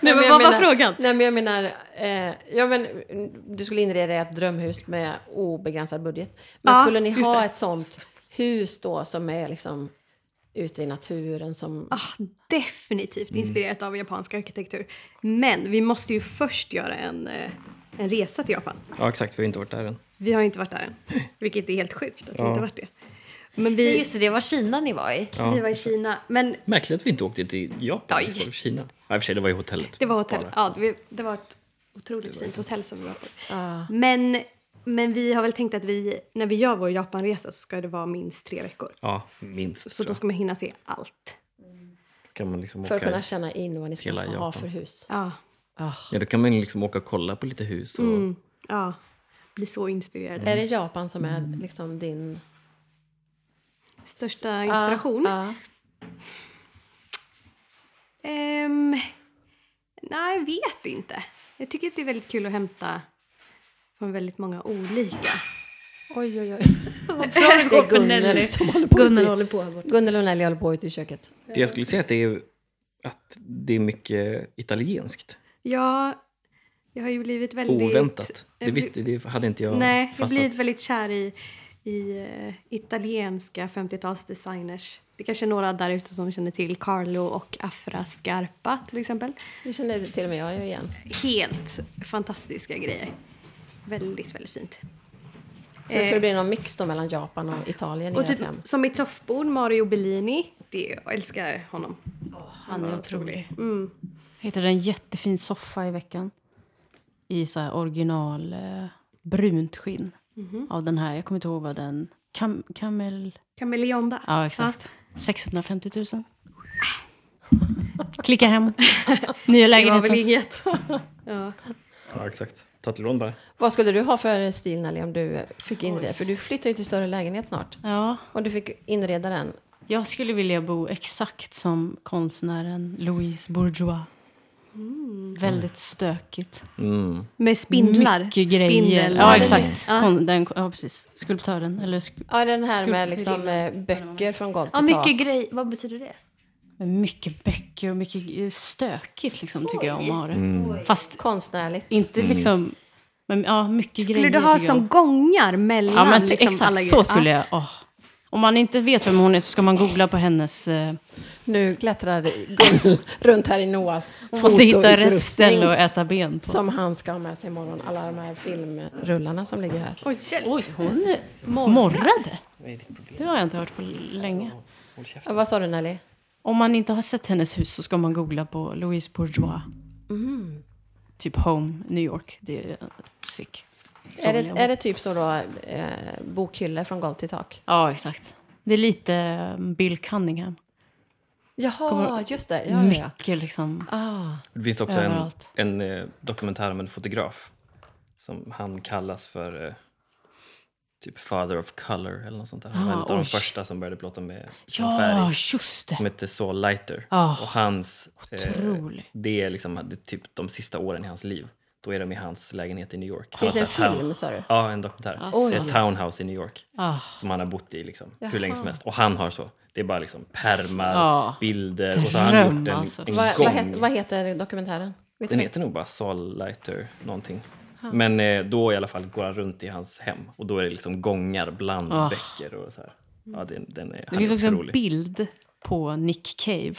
S5: men
S1: jag
S5: vad var
S1: menar-
S5: frågan?
S1: Nej men jag menar, eh, ja, men, mm, du skulle inreda ett drömhus med obegränsad budget. Men
S5: Ja,
S1: skulle ni
S5: just
S1: ha
S5: det.
S1: ett sånt hus då som är liksom ute i naturen som...
S5: Ah, definitivt
S2: Mm.
S5: inspirerat av japansk arkitektur. Men vi måste ju först göra en, eh, en resa till Japan.
S2: Ja, exakt. Vi har inte varit där än.
S5: Vi har ju inte varit där än, vilket är helt sjukt att vi
S2: Ja.
S5: inte varit det. Men
S4: Men
S5: vi,
S4: Mm. Just det, det var Kina ni var i.
S2: Ja.
S5: vi var i Kina, men
S2: Märkligt att vi inte åkte till Japan
S5: Ja,
S2: istället för Kina. Ja, i och för sig, det var ju hotellet.
S5: Det var hotell.
S2: Bara.
S5: Ja, det, vi- det var ett otroligt fint hotell som vi var på.
S1: Ja.
S5: Men, men vi har väl tänkt att vi, när vi gör vår Japanresa så ska det vara minst tre veckor.
S2: Ja, minst.
S5: Så
S2: tror
S5: då
S2: jag.
S5: ska man hinna se allt.
S2: kan man liksom
S1: För att
S2: åka...
S1: kunna känna in vad ni ska
S2: Hela
S1: få ha
S2: Japan.
S1: för hus.
S5: Ja,
S1: Ah.
S2: Ja, då kan man ju liksom åka och kolla på lite hus och
S5: mm, ja. Bli så inspirerad.
S2: Mm.
S1: Är det Japan som är
S5: Mm.
S1: liksom din...
S5: Största inspiration?
S1: Ah, ah.
S5: Ehm, nej, jag vet inte. Jag tycker att det är väldigt kul att hämta från väldigt många olika.
S1: Oj, oj, oj.
S4: det
S1: Det är Gunnel som håller på.
S4: Gunnel
S1: ute
S4: håller på här borta.
S1: i- typ- Gunnel och Nelly håller på ute i typ köket.
S2: Det jag skulle säga att det är att det är mycket italienskt.
S5: Ja, jag har ju blivit väldigt...
S2: Oväntat.
S5: jag
S2: Det,
S5: blir-
S2: visste, det hade inte jag
S5: Nej, jag
S2: fattat.
S5: blir väldigt kär i, i eh, italienska 50-talsdesigners. Det kanske är några där ute som känner till Carlo och Afra Scarpa till exempel.
S1: Det kände till och med jag igen.
S5: Helt fantastiska grejer. Väldigt, väldigt fint.
S1: Så det
S5: Eh,
S1: skulle bli någon mix då mellan Japan och Italien i
S5: och
S1: ert
S5: typ,
S1: hem.
S5: som mitt soffbord, Mario Bellini. Det, jag älskar honom.
S6: Han är otrolig.
S5: Mm.
S6: Jag hittade en jättefin soffa i veckan. I så här original eh, brunt skinn. Av den här, jag kommer inte ihåg vad den... Kam, kamel...
S5: Kameleonda.
S6: Ja, exakt. 650 000. Klicka hem. Nya
S5: Det var väl
S6: lägenheten.
S5: inget. ja.
S2: Ja, exakt. Ta ett lån bara.
S1: Vad skulle du ha för stil Nelly om du fick inreda? För du flyttar ju till större lägenhet snart.
S6: Ja,
S1: Om du fick inreda den.
S6: jag skulle vilja bo exakt som konstnären Louise Bourgeois. Väldigt stökigt.
S2: Mm.
S5: Med Mm. spindlar.
S6: Mycket grejer.
S5: Spindel.
S6: Ja, exakt.
S5: Ja.
S6: Kon, den, ja, precis. Skulptören. Eller sk,
S1: Ja, den här med
S6: Skulpturer.
S1: liksom eh, böcker från golv till
S4: Ja,
S1: tak.
S4: mycket grej. Vad betyder det?
S6: med mycket eh, böcker och mycket stökigt liksom, tycker jag om att ha det. Fast
S1: Konstnärligt.
S6: inte liksom Men ja, mycket
S5: Skulle
S6: grejer.
S5: du ha
S6: tycker jag.
S5: som gångar mellan
S6: Ja, men t-
S5: liksom, alla
S6: exakt så skulle jag. åh. Om man inte vet vem hon är så ska man googla på hennes... Eh,
S1: Nu klättrar Gunnel runt här i Noahs
S6: måste hitta rätt
S1: fotoutrustning
S6: ställe att äta ben på.
S1: som han ska ha med sig imorgon. Alla de här filmrullarna som ligger här.
S5: Oj, hjälp.
S6: Oj, hon är
S5: Morgon.
S6: Eh, morrade.
S2: Vad är ditt problem?
S6: Det har jag inte hört på länge.
S2: Håll käften.
S1: Ja, Vad sa du Nelly?
S6: Om man inte har sett hennes hus så ska man googla på Louise Bourgeois. Typ Home, New York. Det är eh, sick.
S1: Är det,
S6: Somliga-
S1: är det typ så då eh, bokhyllor från golv till tak?
S6: Ja, exakt. Det är lite eh, Bill Cunningham.
S1: Jaha,
S6: Kommer-
S1: just det. Ja, ja, ja.
S6: Mycket liksom.
S1: Ah.
S2: Det finns också en,
S6: Överallt.
S2: en eh, dokumentär om en fotograf som han kallas för eh, typ father of color eller något sånt där. Han var
S6: Ah,
S2: en av de
S6: oj.
S2: första som började plåta med med
S6: Ja,
S2: färg
S6: just
S2: som
S6: det.
S2: heter Saul Leiter.
S6: Ah,
S2: Och hans, eh,
S6: Otrolig.
S2: det är liksom det är typ de sista åren i hans liv. Då är de i hans lägenhet i New York.
S1: Finns det en
S2: Alltså, han-
S1: film sa du?
S2: Ja, en dokumentär.
S6: Alltså.
S2: Det är ett townhouse i New York
S6: Ah,
S2: som han har bott i liksom,
S1: Jaha.
S2: hur länge som helst. Och han har så. Det är bara liksom pärmar,
S6: Ja.
S2: bilder och så har han gjort en,
S6: Dröm, alltså.
S2: en
S1: Vad,
S2: gång.
S1: vad, heter, vad heter dokumentären? Vet
S2: Den
S1: du?
S2: heter nog bara Saul Leiter någonting. Men eh, då i alla fall går han runt i hans hem och då är det liksom gångar bland
S6: Ah.
S2: böcker och så här. Ja, den, den är,
S6: det
S2: han
S6: finns
S2: är
S6: också en
S2: otrolig.
S6: bild på Nick Cave.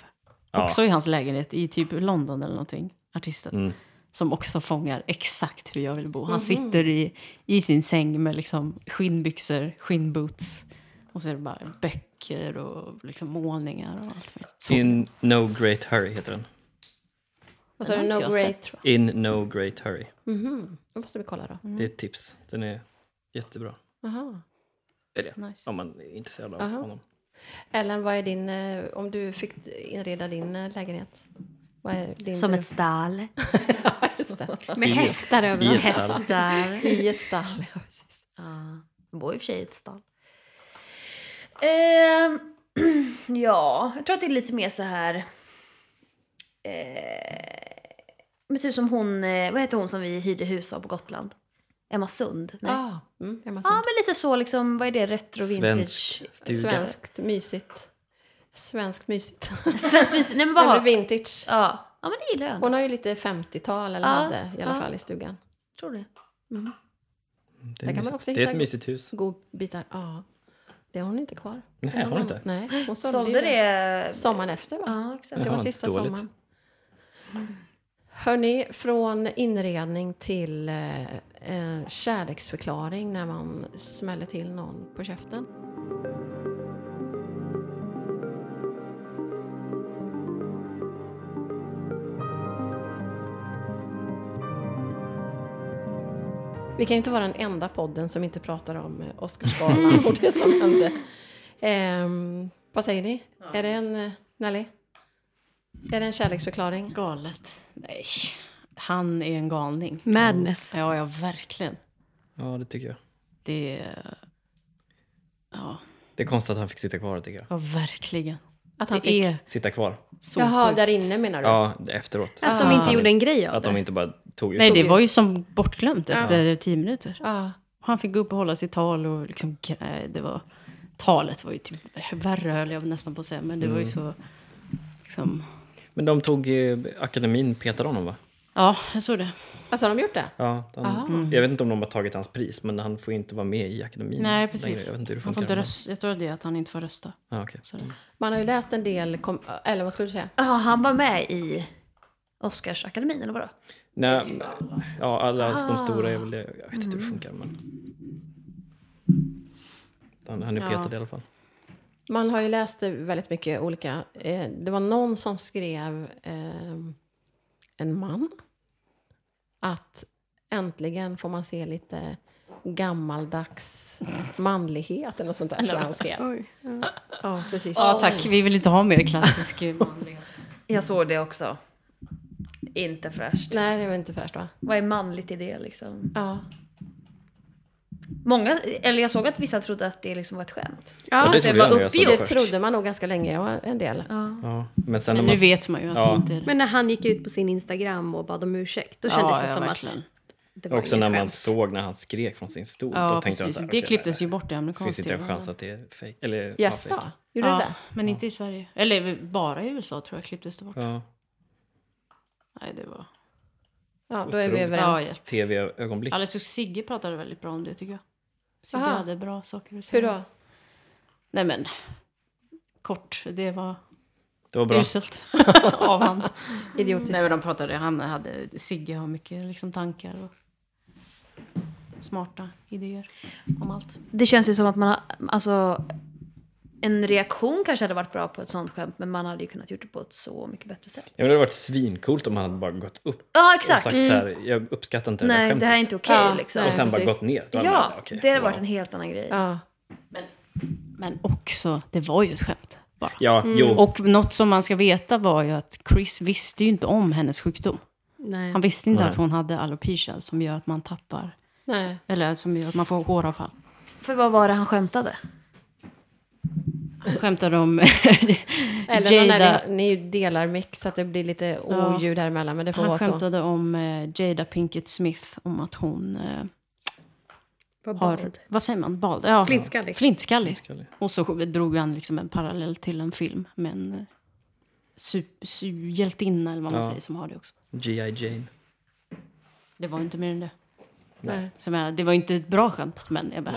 S2: Ja.
S6: Också i hans lägenhet i typ London eller någonting. Artisten.
S2: Mm.
S6: Som också fångar exakt hur jag vill bo. Han sitter i, i sin säng med liksom skinnbyxor, skinnboots. Och så är det bara böcker och liksom målningar och allt. möjligt. Så.
S2: In no great hurry heter den.
S1: Vad sa du?
S6: Den har
S1: No
S6: inte jag
S1: Great...
S6: sett, tror
S2: In no great hurry.
S1: Mhm. Då måste vi kolla då.
S2: Det är ett tips. Den är jättebra.
S1: Aha.
S2: Det är det.
S6: jag. Nice.
S2: Om man är intresserad av
S1: Aha.
S2: honom.
S1: Ellen, vad är din... eh, Om du fick inreda din eh, lägenhet? Vad är din
S4: Som
S1: dröm?
S4: ett stall.
S1: Ja, just det.
S5: Med
S2: I-
S5: hästar
S2: I
S5: överallt.
S2: ett fall.
S4: Hästar.
S1: I ett stall. ja, precis.
S4: Ja, jag bor i och för sig i ett stall. Ehm, ja, jag tror att det är lite mer så här... Eh, men typ som hon, eh, vad heter hon som vi hyrde hus av på Gotland? Emma Sund? Nej.
S1: Ah, mm, Emma
S4: Ja,
S1: Sund.
S4: men lite så liksom, vad är det? Retro, vintage?
S2: Svensk stuga.
S1: Svenskt mysigt. Svenskt mysigt.
S4: Svensk mysig. Nej men
S1: Nej,
S4: vad
S1: men vintage.
S4: Ja. ja, men det gillar jag.
S1: Hon har ju lite 50-tal eller
S4: Ja,
S1: hade i alla
S4: ja.
S1: fall i stugan.
S4: Jag tror det.
S2: Det
S1: Där kan
S2: är,
S1: man
S2: mysigt.
S1: också
S2: det är
S1: hitta
S2: ett mysigt hus.
S1: Godbitar. Ja. Det har hon inte kvar.
S2: Nej, har hon inte?
S1: Nej, hon sålde,
S4: Sålde
S1: ju det.
S4: det...
S1: Sommaren efter va?
S4: Ja, exakt.
S1: Det var
S2: Jaha,
S1: sista
S2: dåligt.
S1: sommaren. Hörni, från inredning till eh, eh, kärleksförklaring när man smäller till någon på käften. Vi kan ju inte vara den enda podden som inte pratar om eh, Oscarsgalan och det som hände. Ehm, vad säger ni? Är det en, eh, Nelly? Är det en kärleksförklaring?
S6: Galet. Nej. Han är en galning.
S5: Madness.
S6: Ja, ja, verkligen.
S2: Ja, det tycker jag.
S6: Det är... Ja,
S2: Det är konstigt att han fick sitta kvar, tycker jag.
S6: ja verkligen.
S1: Att han
S6: det
S1: fick...
S6: är
S2: Sitta kvar.
S6: så
S1: Jaha,
S6: sjukt.
S1: där inne menar du?
S2: Ja, efteråt.
S5: Att de inte gjorde en grej av
S2: Att de inte bara tog ut
S6: Ah. Nej,
S2: honom.
S6: det var ju som bortglömt efter tio minuter.
S1: Ja.
S6: Han fick gå upp och hålla sitt tal och liksom, eh, det var, talet var ju typ värre höll jag nästan på att säga, men det var
S2: Mm.
S6: ju så, liksom,
S2: Men de tog, eh, akademin petade honom va?
S6: ja, jag såg det.
S1: Alltså har de gjort det?
S2: Ja,
S1: Aha.
S2: han, Jag vet inte om de har tagit hans pris, men han får inte vara med i akademin.
S6: Mm. Nej,
S2: längre.
S6: precis.
S2: Jag vet inte hur det
S6: han
S2: funkar
S6: får inte
S2: med-
S6: rösta, jag tror det är att han inte får rösta.
S2: Ja, okej.
S6: Så det.
S1: Man har ju läst en del, kom... eller vad skulle du säga?
S4: Ja, han var med i Oscarsakademin eller vadå?
S2: Nej, men- ja, alla de stora är väl det. Jag vet inte hur
S6: Ah.
S2: det funkar, men... Han, han är
S6: Ja.
S2: petad i alla fall.
S1: Man har ju läst eh, väldigt mycket olika. eh, Det var någon som skrev, ehm, en man, att äntligen får man se lite gammaldags manlighet eller något sånt där. tror jag han skrev.
S5: Oj.
S1: Ja, precis.
S6: Ja, tack. Vi vill inte ha mer klassisk manlighet.
S4: Jag såg det också. Inte fräscht.
S1: Nej, det var inte fräscht va?
S4: Vad är manligt i det liksom?
S1: Ja.
S4: Många, eller jag såg att vissa trodde att det liksom var ett skämt.
S5: Ja,
S2: det
S4: det
S2: trodde
S4: var
S2: jag när jag såg
S1: Det
S2: det först.
S1: trodde man nog ganska länge, ja, en del.
S4: Ja.
S2: Ja, men sen
S6: Men
S2: när
S6: nu
S2: man...
S6: vet man ju att
S2: Ja.
S6: det inte är det.
S5: Men när han gick ut på sin Instagram och bad om ursäkt, då kändes det som
S6: verkligen.
S5: att det var
S2: Också
S5: inget
S2: när man
S5: skämt.
S2: såg när han skrek från sin stol.
S6: Ja,
S2: då tänkte
S6: precis.
S2: jag så här,
S6: det
S2: okej,
S6: klipptes
S2: nej,
S6: ju bort i
S2: Finns
S6: amerikansk
S2: inte en
S6: TV.
S2: chans att det är fejk. Eller ja,
S1: Jaså,
S2: fejk.
S1: gjorde
S6: Ja,
S1: det?
S6: men inte i Sverige. Eller bara i USA tror jag klipptes det bort.
S2: Ja.
S6: Nej, det var...
S1: Ja, då är vi
S2: Otroligt.
S6: Ja,
S1: överens.
S6: ja.
S2: Tv-ögonblick.
S6: Alice och Sigge pratade väldigt bra om det tycker jag. Sigge
S1: Aha.
S6: hade bra saker att
S1: Hur
S6: säga.
S1: då?
S6: Nej men, kort, det var
S2: Det var bra.
S6: uselt av han.
S1: Idiotiskt.
S6: Nej men de pratade, han hade, Sigge har mycket liksom tankar och smarta idéer om allt.
S4: Det känns ju som att man har, alltså en reaktion kanske hade varit bra på ett sånt skämt men man hade ju kunnat gjort det på ett så mycket bättre sätt.
S2: Ja, men det hade varit svincoolt om han hade bara gått upp
S4: Ja
S2: och
S4: exakt! Mm.
S2: sagt så här, jag uppskattar inte det
S4: Nej
S2: här
S4: det här är
S2: skämtet."
S4: inte okej
S1: Ja,
S4: liksom.
S1: nej.
S2: Och sen bara
S1: precis.
S2: gått ner. Då hade man
S4: Ja,
S2: bara, okej,
S4: det hade
S2: wow.
S4: varit en helt annan grej.
S1: Ja.
S6: Men också, det var ju ett skämt bara.
S2: Ja, jo.
S6: Och något som man ska veta var ju att Chris visste ju inte om hennes sjukdom.
S5: Nej.
S6: Han visste inte
S2: Nej.
S6: att hon hade alopecia som gör att man tappar,
S1: Nej.
S6: eller som gör att man får håravfall.
S4: För vad var det han skämtade?
S6: Han skämtade om
S1: Eller
S6: Jada.
S1: när ni, ni delar mick så att det blir lite
S6: Ja.
S1: oljud här emellan. Men det får
S6: Han
S1: vara så.
S6: skämtade om eh, Jada Pinkett Smith, om att hon eh,
S5: Vad
S6: har,
S5: bad.
S6: vad säger man, bald? Ja,
S5: Flintskallig.
S6: flintskallig.
S2: Flintskallig.
S6: Och så drog han liksom en parallell till en film med en eh, sup- su- hjältinna eller vad man
S2: Ja.
S6: säger som har det också.
S2: G.I. Jane.
S6: Det var ju inte mer än det. Eh,
S1: Nej.
S6: Så jag menar, det var ju inte ett bra skämt, men jag bara,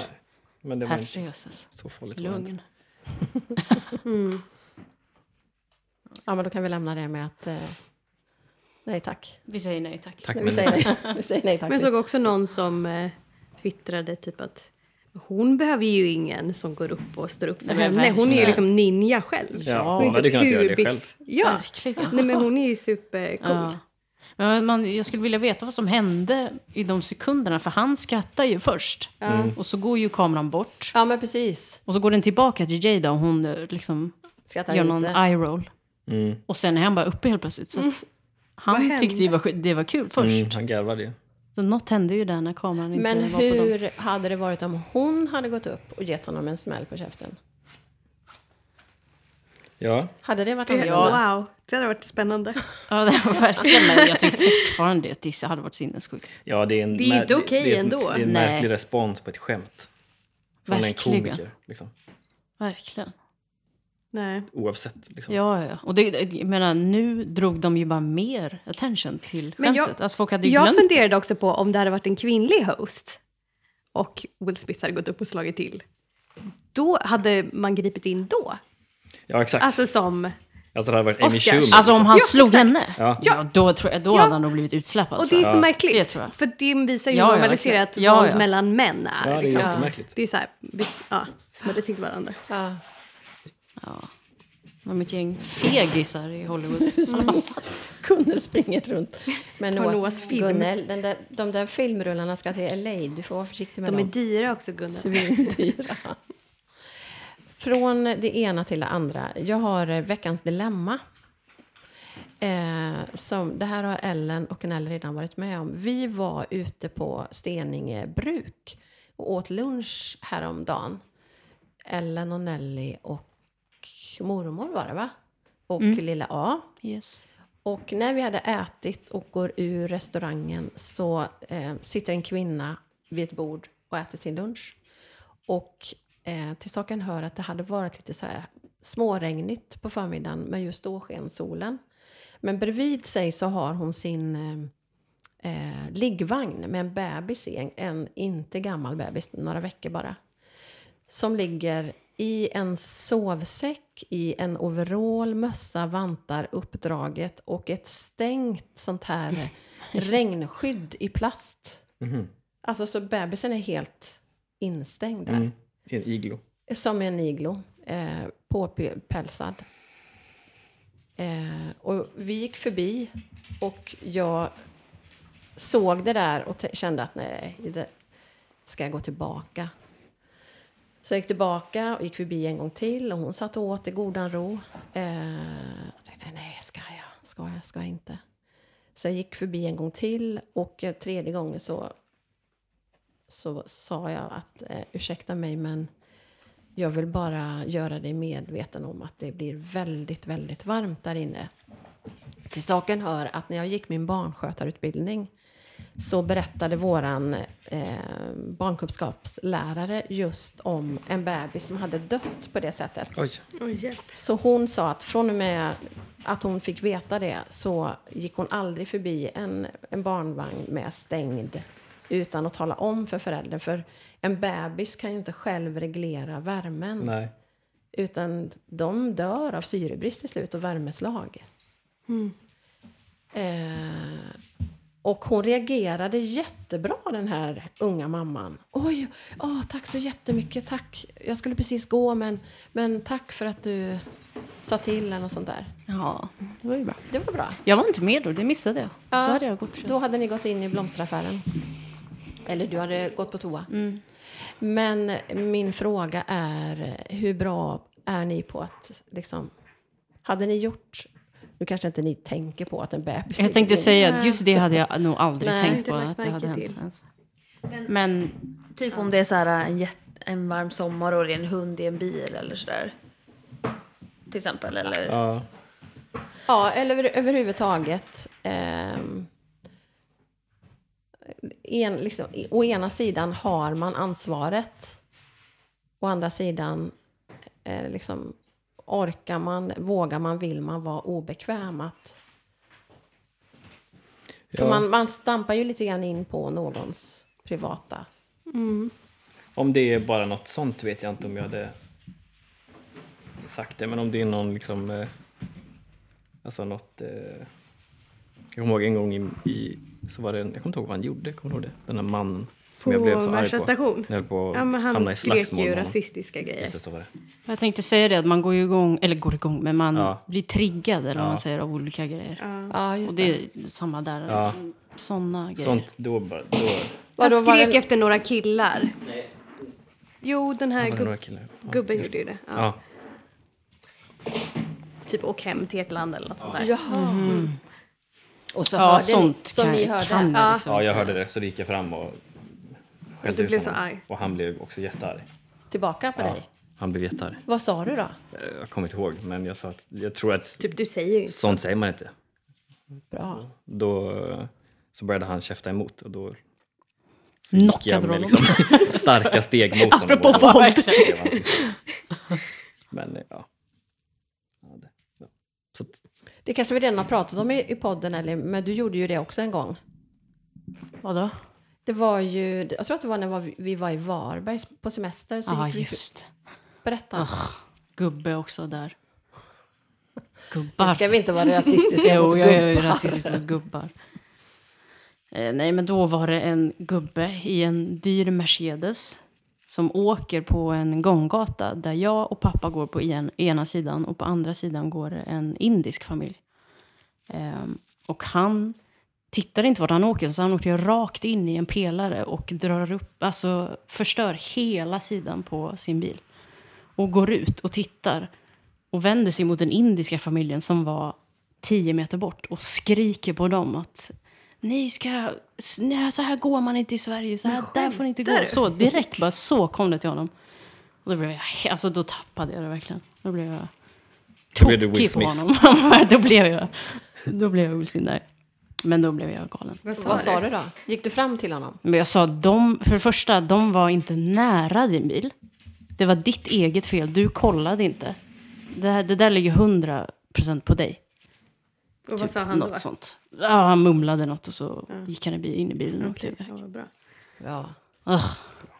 S2: Men det var inte
S6: herrejösses,
S2: så farligt. var det inte.
S6: lugn.
S1: Ja, men då kan vi lämna det med att... Eh, nej tack.
S6: Vi säger nej tack.
S2: Tack,
S1: Nej,
S2: men
S1: vi, säger nej. vi säger nej tack.
S5: Men jag såg också någon som eh, twittrade typ att hon behöver ju ingen som går upp och står upp för
S6: Nej, men
S5: henne. Hon är ju
S6: verkligen.
S5: liksom ninja själv.
S2: Ja,
S6: Ja,
S2: hon
S5: Hon är
S2: hade
S5: typ
S2: kunnat
S5: hur
S2: göra det
S5: biff-
S2: själv.
S5: Ja,
S6: Verkligen.
S5: nej men hon är ju supercool.
S6: Ja. Men man, jag skulle vilja veta vad som hände i de sekunderna, för han skrattar ju först. Och så går ju kameran bort.
S1: Ja, men precis.
S6: Och så går den tillbaka till Jada och hon eh, liksom
S1: Skrattar
S6: gör
S1: inte.
S6: någon eye roll.
S2: Mm.
S6: Och sen är han bara uppe helt plötsligt. Så att Han
S5: Mm. Vad
S6: tyckte det var, sk- det var kul först.
S2: Mm, han garvade ju.
S6: Så något hände ju där när kameran inte
S1: Men
S6: var på dem.
S1: hur hade det varit om hon hade gått upp och gett honom en smäll på käften?
S2: Ja,
S1: Hade det varit
S5: Det,
S1: annorlunda?
S5: Wow, det hade varit spännande.
S6: Ja, det var verkligen. Men jag tycker fortfarande att Disse hade varit sinnessjukt.
S2: ja det är en
S5: Det är ju
S2: mär-
S5: inte okej
S2: det är en-
S5: ändå.
S2: Det är en
S6: Nej.
S2: märklig respons på ett skämt. Från en
S6: Verkligen.
S2: komiker. Liksom.
S6: Verkligen.
S5: Nej.
S2: Oavsett. Liksom.
S6: Ja, ja. ja. Och det, jag menar, nu drog de ju bara mer attention till
S5: Men jag-
S6: skämtet. Alltså folk hade ju
S5: Jag
S6: glömt
S5: funderade också på om det hade varit en kvinnlig host och Will Smith hade gått upp och slagit till. Då hade man gripit in då.
S2: Ja, exakt. Alltså,
S5: Alltså som...
S2: det hade varit Amy
S5: Oscars.
S2: Schumer.
S6: Alltså om han
S5: Ja,
S6: slog
S5: exakt.
S6: henne,
S2: Ja.
S6: ja. då, tror jag, då
S5: Ja.
S6: hade han nog blivit utsläppad.
S5: Och det
S6: tror
S5: är
S6: jag.
S5: så märkligt.
S6: det tror jag.
S5: För det visar ju
S6: Ja,
S5: hur
S6: ja,
S5: normaliserat
S6: verkligen. Ja,
S5: våld
S6: ja.
S5: mellan män är.
S2: Ja, det är
S5: liksom.
S2: jättemärkligt.
S5: det är så här, vi ja, smäller till varandra.
S1: Ja.
S6: Det var ett gäng fegisar i Hollywood som bara satt.
S1: Gunnel springer runt. Men
S5: Tar
S1: Noah,
S5: Noahs film.
S1: Gunnel, den där, de där filmrullarna ska till LA. Du får vara försiktig med
S5: De är
S1: dem.
S5: dyra också Gunnar.
S1: Svindyra. Från det ena till det andra. Jag har eh, veckans dilemma. Eh, som, det här har Ellen och Nell redan varit med om. Vi var ute på Steninge bruk och åt lunch häromdagen. Ellen och Nelly och mormor var det va? Och lilla A.
S6: Yes.
S1: Och när vi hade ätit och går ur restaurangen så eh, sitter en kvinna vid ett bord och äter sin lunch. Och eh, till saken hör att det hade varit lite så här småregnigt på förmiddagen men just då sken solen. Men bredvid sig så har hon sin eh, eh, liggvagn med en bebis i, en, en inte gammal bebis, några veckor bara som ligger i en sovsäck, i en overall, mössa, vantar uppdraget och ett stängt sånt här regnskydd i plast.
S2: Mhm.
S1: Alltså så bebisen är helt instängd där.
S2: Mm. I en iglo.
S1: Som en iglo, eh, påpälsad. Eh, och vi gick förbi och jag såg det där och t- kände att nej, det ska jag gå tillbaka? Så jag gick tillbaka och gick förbi en gång till och hon satt och åt i godan ro. Eh, jag tänkte, nej, ska jag? Ska jag? Ska jag inte? Så jag gick förbi en gång till och eh, tredje gången så, så sa jag att eh, ursäkta mig men jag vill bara göra dig medveten om att det blir väldigt, väldigt varmt där inne. Till saken hör att när jag gick min barnskötarutbildning så berättade våran eh, barnkunskapslärare just om
S5: Typ.
S1: en bebis som hade dött på det sättet.
S2: Oj.
S5: Oj, hjälp.
S1: Så hon sa att från och med att hon fick veta det så gick hon aldrig förbi en, en barnvagn med stängd utan att tala om för föräldern. För en bebis kan ju inte själv reglera värmen.
S2: Nej.
S1: Utan de dör av syrebrist till slut och värmeslag. Mm. Eh, och hon reagerade jättebra den här unga mamman. Oj, åh, tack så jättemycket, tack. Jag skulle precis gå men, men tack för att du sa till eller och sånt där.
S6: Ja, det var ju bra.
S1: Det var bra.
S6: Jag var inte med då, det missade jag. Då hade jag gått redan.
S1: Då hade ni gått in i blomsteraffären. Eller du hade gått på toa.
S6: Mm.
S1: Men min fråga är, hur bra är ni på att liksom... Hade ni gjort... Nu kanske inte ni tänker på att en bebis...
S6: Jag tänkte säga att just det hade jag nog aldrig
S1: Nej.
S6: tänkt på
S5: Det lagt
S6: att det hade
S5: märke
S6: hänt.
S5: till.
S6: Ens. Men
S4: Typ om det är så här en, jätte, en varm sommar och det är en hund i en bil eller sådär. Till exempel. Eller,
S2: Ja.
S1: Ja, eller över, överhuvudtaget. ehm, en, liksom, i- å ena sidan har man ansvaret. Å andra sidan eh, liksom, orkar man, vågar man, vill man vara obekväm. Att, för
S2: Ja.
S1: man, man stampar ju lite grann in på någons privata.
S2: Om det är bara något sånt vet jag inte om jag hade sagt det, men om det är någon liksom... eh, Alltså något... eh, Jag kommer ihåg en gång i, i så var det, en, jag kommer inte ihåg vad han gjorde, kommer du ihåg det? Den där mannen som jag
S5: På
S2: blev så arg
S5: Märsta
S2: på.
S5: station?
S2: Jag höll på att
S5: Ja, men
S2: hamna
S5: han
S2: i
S5: skrek
S2: slagsmål
S5: ju
S2: med honom.
S5: rasistiska grejer.
S2: Just det, så var det.
S6: jag tänkte säga det att man går ju igång, eller går igång, men man
S2: Ja.
S6: blir triggad eller vad
S2: Ja.
S6: man säger av olika grejer.
S1: Ja, just
S6: Och
S1: det.
S6: det är samma där,
S2: Ja.
S6: sådana grejer.
S2: Sånt, då bara... Då
S5: Han
S1: Vadå,
S5: skrek
S1: var det-
S5: efter några killar. Jo, den här
S2: var det några
S5: gub-
S2: killar. Ja,
S5: gubben
S2: just-
S5: gjorde ju det. Ja.
S2: Ja,
S5: Typ åk hem till ett land eller något sånt där.
S1: Jaha. Och så
S6: Ja, sånt
S1: som
S6: kan,
S1: ni hörde.
S6: kan jag liksom.
S2: ja, jag hörde det, så det gick jag fram och skällde
S5: du
S2: ut
S5: blev så
S2: honom.
S5: arg.
S2: Och han blev också jättearg.
S1: tillbaka på
S2: Ja,
S1: dig.
S2: han blev jättearg.
S1: Vad sa du då?
S2: Eh, Jag kommer inte ihåg, men jag sa att jag tror att
S5: Typ du säger ju inte.
S2: sånt säger man inte.
S1: Bra.
S2: Då eh, så började han käfta emot och då så gick
S6: Knockade
S2: jag
S6: du
S2: med
S6: honom?
S2: liksom, starka steg mot honom.
S6: Apropå
S2: och-
S6: våld.
S2: Det var någonting sånt. Men eh, ja. ja, det, ja. Så att,
S1: Det kanske vi redan har pratat om i, i podden, eller, men du gjorde ju det också en gång.
S6: Vadå?
S1: Det var ju, jag tror att det var när var- vi var i Varberg på semester. Så
S6: Ja,
S1: gick vi,
S6: Ah, just Ah,
S1: Berätta.
S6: Gubbe också där.
S1: Nu
S6: Gubbar.
S1: ska vi inte vara rasistiska mot
S6: ah. Jo, jag är ju
S1: gubbar.
S6: rasistisk mot gubbar. Eh, nej, men då var det en gubbe i en dyr Mercedes som åker på en gånggata där jag och pappa går på en, ena sidan och på andra sidan går det en indisk familj. Ehm, och han tittar inte vart han åker, så han åker rakt in i en pelare och drar upp, alltså förstör hela sidan på sin bil. Och går ut och tittar och vänder sig mot den indiska familjen som var tio meter bort och skriker på dem att ni ska, s- nej, så här går man inte i Sverige, så här, där får ni inte gå. Så direkt bara så kom det till honom. Och då blev jag, he- alltså då tappade jag det verkligen. Då blev jag
S2: Då blev du Will
S6: tokig på
S2: Smith.
S6: honom. då blev jag, då blev jag Will Smith, nej. Men då blev jag galen.
S1: Vad sa du då? Gick du fram till honom?
S6: Men jag sa, de, för det första, de var inte nära din bil. Det var ditt eget fel, du kollade inte. Det, här, det där ligger 100% på dig.
S5: Och vad
S6: Typ
S5: sa han
S6: något
S5: då?
S6: sånt. Ja, han mumlade något och så gick han i bi- in i bilen och åkte
S5: Okej,
S6: iväg.
S5: ja, vad bra.
S1: Bra,
S6: Ugh,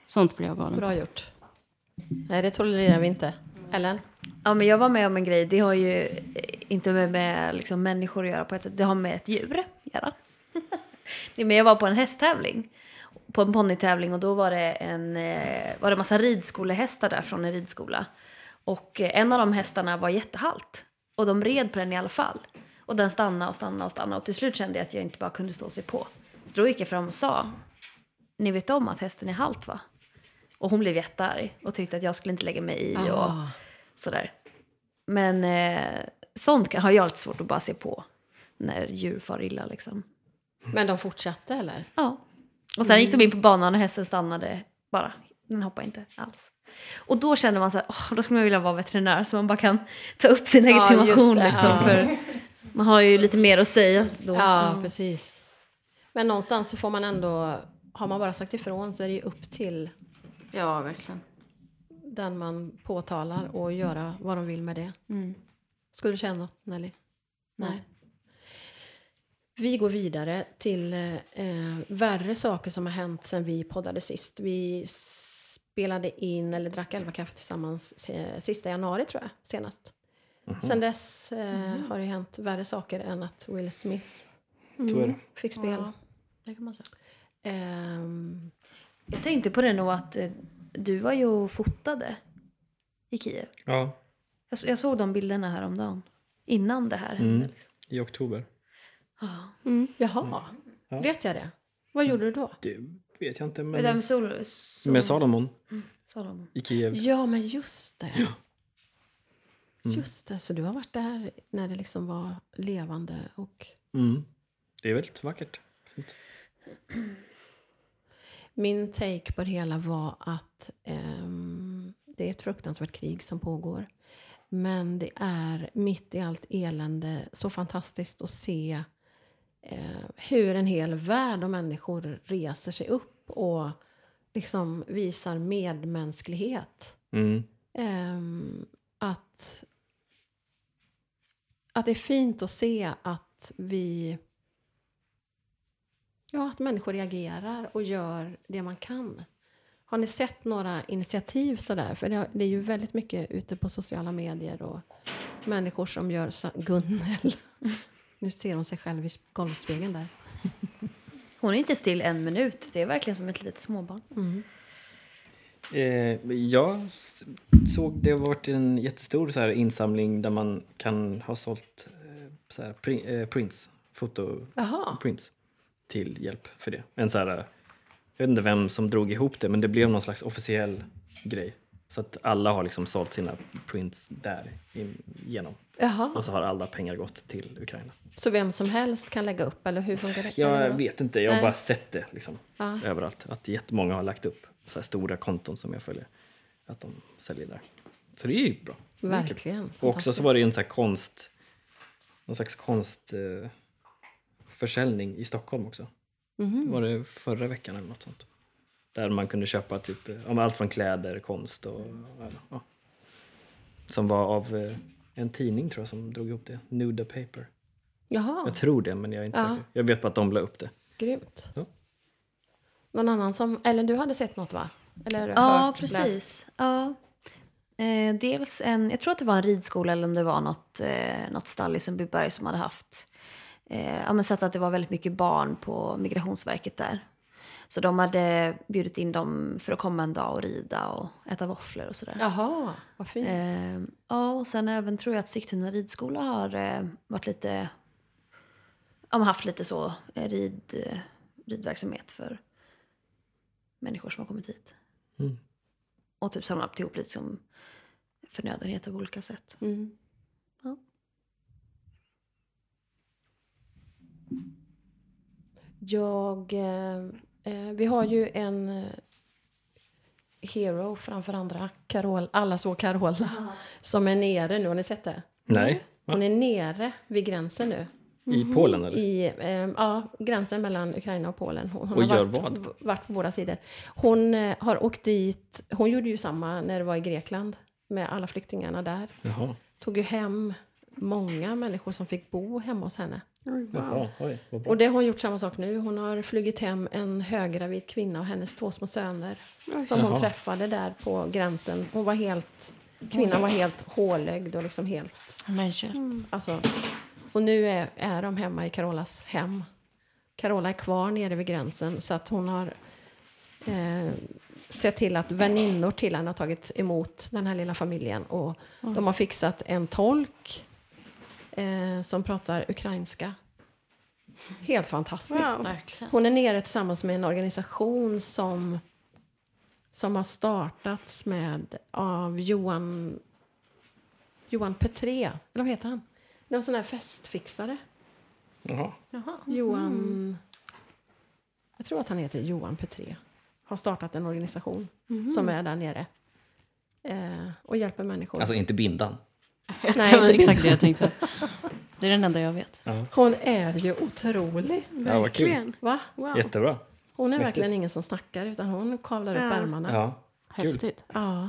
S6: sånt blir jag galen på.
S1: bra gjort. Nej, det tolererar vi inte. Ellen?
S4: Ja, men jag var med om en grej. Det har ju eh, inte med, med liksom människor att göra på ett sätt. Det har med ett djur att göra. Nej, men jag var på en hästtävling. På en ponnytävling och då var det en eh, var det massa ridskolehästar där från en ridskola. Och eh, en av de hästarna var jättehalt. Och de red på den i alla fall. Och den stannade och stannade och stannade. Och till slut kände jag att jag inte bara kunde stå sig på. Då gick jag fram och sa. Ni vet om att hästen är halt va? Och hon blev jättearg och tyckte att jag skulle inte lägga mig i. Och,
S1: Ah,
S4: sådär. Men eh, sånt kan- har jag alltid svårt att bara se på när djur far illa liksom.
S1: Men de fortsatte eller?
S4: Ja. Och sen gick de in på banan och hästen stannade bara. Den hoppade inte alls. Och då känner man så här, åh, då skulle man vilja vara veterinär så man bara kan ta upp sin
S1: Ja, just
S4: legitimation
S1: det.
S4: liksom.
S1: Ja.
S4: För man har ju lite mer att säga då. Mm.
S1: Ja, precis. Men någonstans så får man ändå, har man bara sagt ifrån så är det ju upp till
S6: Ja, verkligen.
S1: den man påtalar och göra vad de vill med det. Skulle du känna något Nelly? Nej. Vi går vidare till eh, eh, värre saker som har hänt sen vi poddade sist. Vi spelade in, eller drack elva kaffe tillsammans eh, sista januari tror jag, senast. Sen dess eh, har det hänt värre saker än att Will Smith
S2: Så är
S6: Mm.
S2: det.
S1: fick spel.
S6: Det kan man säga.
S1: Ehm,
S4: Jag tänkte på det nog att eh, du var ju och fotade i Kiev.
S2: Ja,
S4: Jag, jag såg de bilderna häromdagen. Innan det här hände.
S2: mm.
S4: Liksom.
S2: i oktober.
S4: Ja.
S1: jaha,
S2: Ja.
S1: Mm. vet jag det? Vad gjorde du då?
S2: Det vet jag inte,
S4: Men den
S2: men
S4: sol, sol,
S2: med Salomon
S4: Salomon.
S2: i Kiev.
S1: Ja, men just det.
S2: Mm.
S1: Just det, så du har varit där när det liksom var levande och...
S2: Mm. Det är väldigt vackert. Fint.
S1: Min take på det hela var att ehm, det är ett fruktansvärt krig som pågår. Men det är mitt i allt elände så fantastiskt att se eh, hur en hel värld av människor reser sig upp och liksom visar medmänsklighet.
S2: Mm.
S1: Ehm, att, att det är fint att se att vi... Ja, att människor reagerar och gör det man kan. Har ni sett några initiativ sådär? För det, har- det är ju väldigt mycket ute på sociala medier och människor som gör... sa- Gunnel. Nu ser hon sig själv i golvspegeln där.
S4: Hon är inte still en minut. Det är verkligen som ett litet småbarn.
S2: Eh, jag s- såg det har varit en jättestor så här insamling där man kan ha sålt eh, så här, pri- eh, prints, foto
S1: Jaha.
S2: prints till hjälp för det. En så här, eh, jag vet inte vem som drog ihop det men det blev någon slags officiell grej. Så att alla har liksom sålt sina prints där in- igenom.
S1: Jaha.
S2: Och så har alla pengar gått till Ukraina.
S1: Så vem som helst kan lägga upp, eller hur funkar det? Eller
S2: Jag
S1: vadå?
S2: vet inte, jag har
S1: Nej.
S2: bara sett det liksom,
S1: Ja.
S2: överallt. Att jättemånga har lagt upp så här stora konton som jag följer. Att de säljer där. Så det är ju bra.
S1: Verkligen.
S2: Och också så var det ju en sån här konst, någon slags konstförsäljning eh, försäljning i Stockholm också.
S1: Mhm.
S2: Var det förra veckan eller något sånt? Där man kunde köpa typ, eh, ja, men allt från kläder, konst och... Ja. Som var av eh, en tidning tror jag som drog ihop det. Nuda Paper.
S1: Jaha,
S2: Jag tror det men jag är inte
S1: Ja.
S2: säker. Jag vet bara att de la upp det.
S1: grymt.
S2: Ja.
S1: Någon annan som, eller du hade sett något va? Eller
S4: Ja,
S1: hört, läst?
S4: precis. Ja. Eh, dels en, jag tror att det var en ridskola eller om det var något, eh, något stall i Sundbyberg som hade haft, eh, ja men sett att det var väldigt mycket barn på Migrationsverket där. Så de hade bjudit in dem för att komma en dag och rida och äta våfflor och sådär.
S1: Jaha, vad fint.
S4: Eh, ja, och sen även tror jag att Sigtuna ridskola har eh, varit lite, ja men haft lite så eh, rid, eh, ridverksamhet för människor som har kommit hit.
S2: Mm.
S4: Och typ samlat ihop lite som förnödenheter på olika sätt.
S1: Mm.
S4: Ja.
S1: Jag, eh, eh, vi har ju en eh, hero framför andra, Carol, alla så Carola, som är nere nu. Har ni sett det?
S2: Nej. Va?
S1: Hon är nere vid gränsen nu.
S2: Mhm. I Polen eller?
S1: I eh, ja, gränsen mellan Ukraina och Polen. Hon, hon
S2: Och
S1: har
S2: gör
S1: varit,
S2: vad?
S1: v- varit på båda sidor. Hon eh, har åkt dit. Hon gjorde ju samma när det var i Grekland med alla flyktingarna där.
S2: Jaha.
S1: Tog ju hem många människor som fick bo hemma hos henne.
S2: Jaha. Oj, vad bra.
S1: Och det har hon gjort samma sak nu. Hon har flugit hem en höggravid kvinna och hennes två små söner som hon
S2: Jaha.
S1: träffade där på gränsen. Hon var helt, kvinnan var helt hålögd och liksom helt
S6: Men shit.
S1: Alltså, och nu är, är de hemma i Carolas hem. Carola är kvar nere vid gränsen så att hon har eh, sett till att väninnor till henne har tagit emot den här lilla familjen. Och De har fixat en tolk eh, som pratar ukrainska. Helt fantastiskt.
S5: Wow.
S6: Verkligen.
S1: Hon är nere tillsammans med en organisation som, som har startats med av Johan, Johan Petré, eller vad heter han? Någon sån här festfixare.
S2: Jaha.
S1: Mm. Johan... Jag tror att han heter Johan Petré. Har startat en organisation som är där nere. Eh, och hjälper människor.
S2: Alltså inte bindan.
S1: Nej,
S6: det var
S1: inte
S6: exakt det jag tänkte. Det är den enda jag vet.
S1: Hon är ju otrolig.
S2: Ja, vad kul.
S5: Verkligen.
S1: Va?
S5: Wow.
S2: Jättebra.
S1: Hon är
S2: Mäktigt.
S1: verkligen ingen som snackar utan hon kavlar upp
S5: Ja.
S1: ärmarna.
S2: Ja. Kul.
S6: Häftigt.
S1: Ja.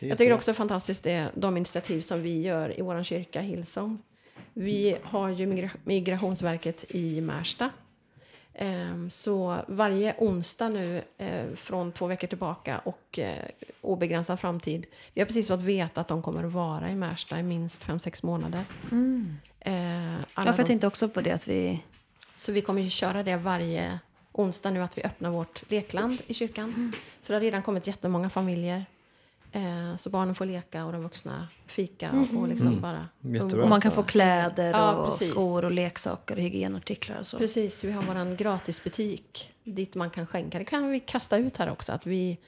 S2: Det är
S1: Jag tycker
S2: jättebra.
S1: också det är fantastiskt det, de initiativ som vi gör i vår kyrka, Hillsong. Vi har ju migra Migrationsverket i Märsta. Ehm, Så varje onsdag nu eh, från två veckor tillbaka och eh, obegränsad framtid. Vi har precis fått veta att de kommer att vara i Märsta i minst fem sex månader. Eh, alla
S4: Mm. Ja, för jag
S1: de-
S4: tänkte också på det att vi...
S1: så vi kommer ju köra det varje onsdag nu att vi öppnar vårt lekland i kyrkan.
S4: Mm.
S1: Så det har redan kommit jättemånga familjer. Eh, så barnen får leka och de vuxna fika och liksom bara
S2: Jättebra.
S1: umgås
S4: Mm. Och man kan
S1: och-
S4: få kläder
S1: Ja,
S4: och
S1: precis.
S4: skor och leksaker och hygienartiklar och så.
S1: Precis, vi har vår gratisbutik dit man kan skänka. Det kan vi kasta ut här också. Att vi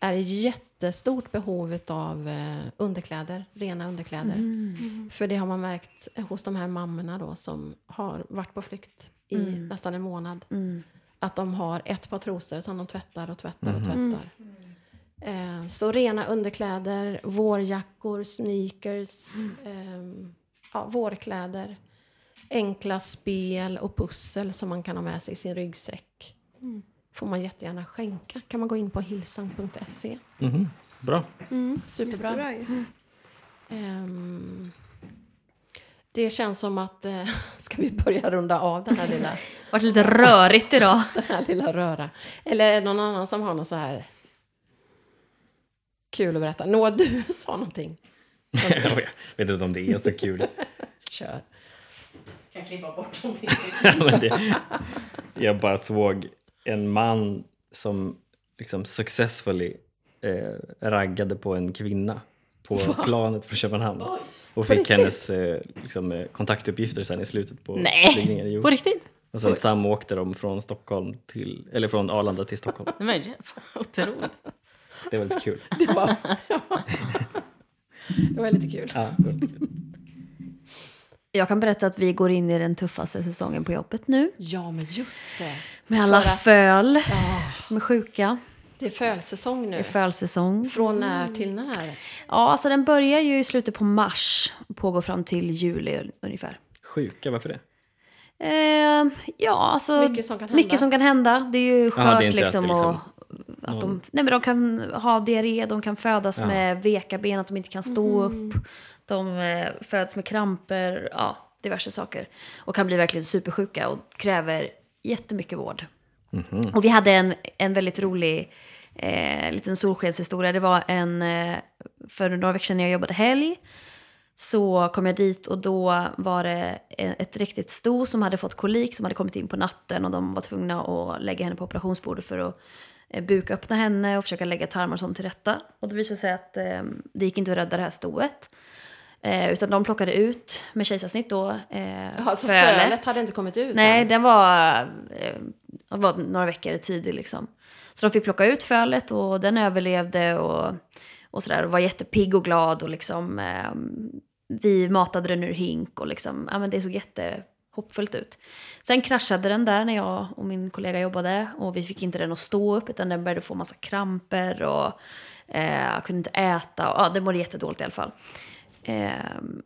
S1: är i jättestort behov av eh, underkläder, rena underkläder. För det har man märkt hos de här mammorna då som har varit på flykt i nästan en månad. Att de har ett par trosor som de tvättar och tvättar och tvättar. Eh, Så rena underkläder, vårjackor, sneakers, ehm, ja, vårkläder enkla spel och pussel som man kan ha med sig i sin ryggsäck. Får man jättegärna skänka. Kan man gå in på hillsong.se.
S2: Mhm. Bra.
S1: Superbra.
S5: Bra ju.
S1: Ehm, det känns som att, eh, ska vi börja runda av den här lilla,
S4: Vart lite rörigt idag.
S1: den här lilla röra? Eller är det någon annan som har något så här kul att berätta? Noah, du sa någonting.
S2: jag vet inte om det är så kul.
S1: Kör.
S3: Kan klippa bort dem.
S2: Men det, jag bara såg en man som liksom successfully eh, raggade på en kvinna på planet från Köpenhamn. Och fick
S1: riktigt?
S2: hennes eh, liksom, eh, kontaktuppgifter sen i slutet på
S6: Nej.
S2: flygningen. Jo.
S6: På riktigt?
S2: Och sen samåkte de från Stockholm till, eller från Arlanda till Stockholm.
S6: Nej, men, fan, otroligt.
S2: Det var lite kul.
S1: Det var, det var lite kul.
S2: Ja, det var lite kul.
S4: Jag kan berätta att vi går in i den tuffaste säsongen på jobbet nu.
S1: Ja, men just det.
S4: Med alla
S1: För att-
S4: föl
S1: Ja,
S4: som är sjuka.
S1: det är fölsäsong
S4: Det är
S1: nu.
S4: fölsäsong.
S1: Från när till när?
S4: Ja, alltså den börjar ju i slutet på mars och pågår fram till juli ungefär.
S2: Sjuka, varför det?
S4: Eh, ja, alltså
S1: Mycket som kan hända.
S4: mycket som kan hända. Det är ju
S2: Jaha,
S4: skört
S2: det är inte
S4: liksom.
S2: alltid
S4: och, att de, nej, men de kan ha diarré, de kan födas
S2: Ja.
S4: med veka ben, att de inte kan stå
S1: Mm.
S4: upp. De eh, föds med kramper, ja, diverse saker. Och kan bli verkligen supersjuka och kräver jättemycket vård.
S1: Mm.
S4: Och vi hade en, en väldigt rolig eh, liten solskenshistoria. Det var en, eh, för några veckor sedan när jag jobbade helg. Så kom jag dit och då var det e- ett riktigt sto som hade fått kolik som hade kommit in på natten och de var tvungna att lägga henne på operationsbordet för att eh, buköppna henne och försöka lägga tarmar och sånt till rätta. Och det visade sig att eh, det gick inte att rädda det här stoet. Eh, utan de plockade ut med kejsarsnitt då eh,
S1: Jaha, så
S4: fölet.
S1: alltså fölet hade inte kommit ut
S4: Nej,
S1: än?
S4: den var, eh, den var några veckor tidig liksom. Så de fick plocka ut fölet och den överlevde och, och sådär. Och var jättepigg och glad och liksom eh, vi matade den ur hink och liksom, ja men det såg jättehoppfullt ut. Sen kraschade den där när jag och min kollega jobbade och vi fick inte den att stå upp utan den började få massa kramper och eh, kunde inte äta och ja, den mådde jättedåligt i alla fall. Ehm,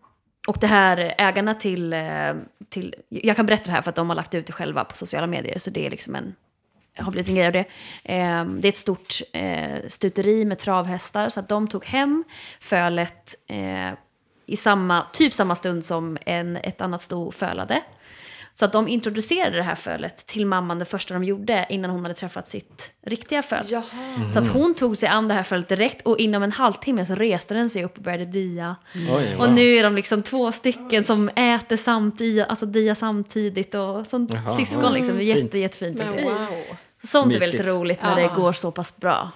S4: och det här, ägarna till, eh, till... Jag kan berätta det här för att de har lagt ut det själva på sociala medier. Så det är liksom en... Har blivit en grej av det. Eh, Det är ett stort eh, stuteri med travhästar. Så att de tog hem fölet eh, i samma, typ samma stund som en, ett annat sto fölade. Så att de introducerade det här fölet till mamman det första de gjorde innan hon hade träffat sitt riktiga föl.
S1: Jaha.
S4: Så att hon tog sig an det här fölet direkt och inom en halvtimme så reste den sig upp och började dia.
S2: Oj,
S4: Och
S2: wow.
S4: nu är de liksom två stycken som äter samtidigt, alltså dia samtidigt och som
S2: Jaha,
S4: syskon
S2: ja.
S4: liksom. Det är
S2: Fint.
S4: jätte, jättefint.
S1: Mm. Men
S4: Liksom.
S1: wow.
S4: Sånt är
S2: Mysigt.
S4: väldigt roligt när
S1: Ja.
S4: det går så pass bra.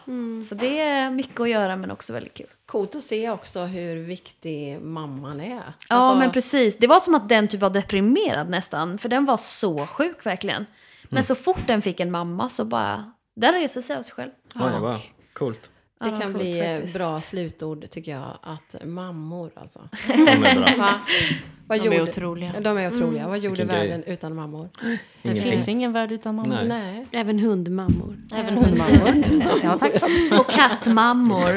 S4: Så det är mycket att göra men också väldigt kul.
S1: Coolt att se också hur viktig mamman är.
S4: Ja
S1: Alltså,
S4: men precis, det var som att den typ var deprimerad nästan för den var så sjuk verkligen. Men så fort den fick en mamma så bara, den reser sig av sig själv.
S2: Oj, wow. Coolt.
S4: Ja,
S1: Det
S4: vad
S1: kan
S4: coolt
S1: bli eh,
S4: faktiskt.
S1: bra slutord tycker jag. Att mammor alltså.
S2: De är bra.
S1: Va? Vad
S6: De är otroliga.
S1: De är otroliga.
S4: Mm.
S1: Vad gjorde
S2: Vilken grej.
S1: världen utan mammor?
S6: Det
S2: Ingenting.
S6: finns ingen värld utan mamma.
S2: Nej.
S1: Nej.
S5: Även hundmammor.
S6: Även hundmammor. Ja, tack.
S4: Och kattmammor.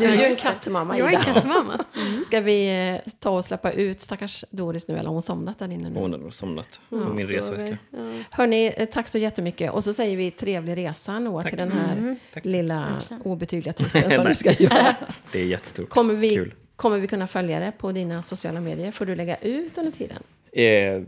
S1: Du är ju en kattmamma
S5: Jag är
S1: Ida.
S5: kattmamma.
S1: Ska vi eh, ta och släppa ut stackars Doris nu? Eller har hon somnat där inne nu?
S2: Hon hade nog somnat på min resväska.
S1: Hörni, eh, tack så jättemycket. Och så säger vi trevlig resa Noah till
S2: Mm.
S1: den här lilla obetydliga trippen som du ska göra.
S2: Det är jättestort.
S1: Kommer vi,
S2: Kul.
S1: Kommer vi kunna följa det på dina sociala medier? Får du lägga ut under tiden?
S2: Eh,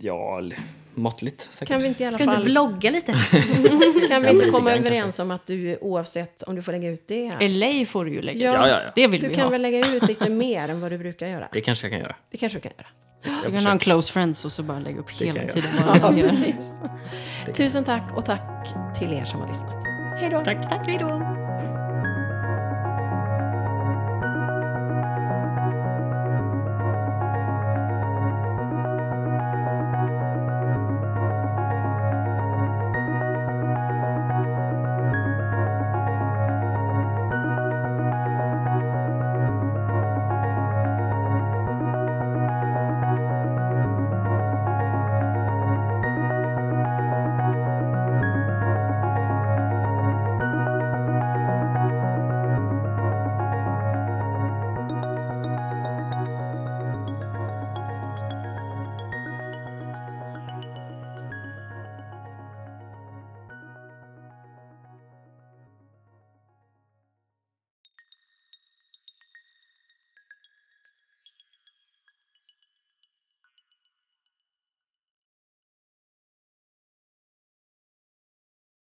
S2: ja, l- måttligt säkert.
S1: Kan vi inte i alla
S4: Ska du inte
S1: fall...
S4: vlogga lite?
S1: Kan vi
S2: Ja,
S1: inte
S2: lite
S1: komma
S2: grann
S1: överens om att du oavsett om du får lägga ut det?
S6: LA får du ju lägga
S1: Ja,
S6: ut.
S2: Ja, ja, ja.
S6: Det vill
S1: Du
S6: vi
S1: kan
S6: ha.
S1: väl lägga ut lite mer än vad du brukar göra?
S2: Det kanske jag kan göra.
S1: Det kanske du kan göra.
S2: Jag
S6: Du kan ha en
S2: försöker.
S6: close friends och så bara lägga upp
S2: kan
S6: hela
S2: jag
S6: tiden.
S1: Ja,
S6: vad du gör.
S1: precis. Tusen tack och tack till er som har lyssnat. Hej då!
S6: Tack, hej då.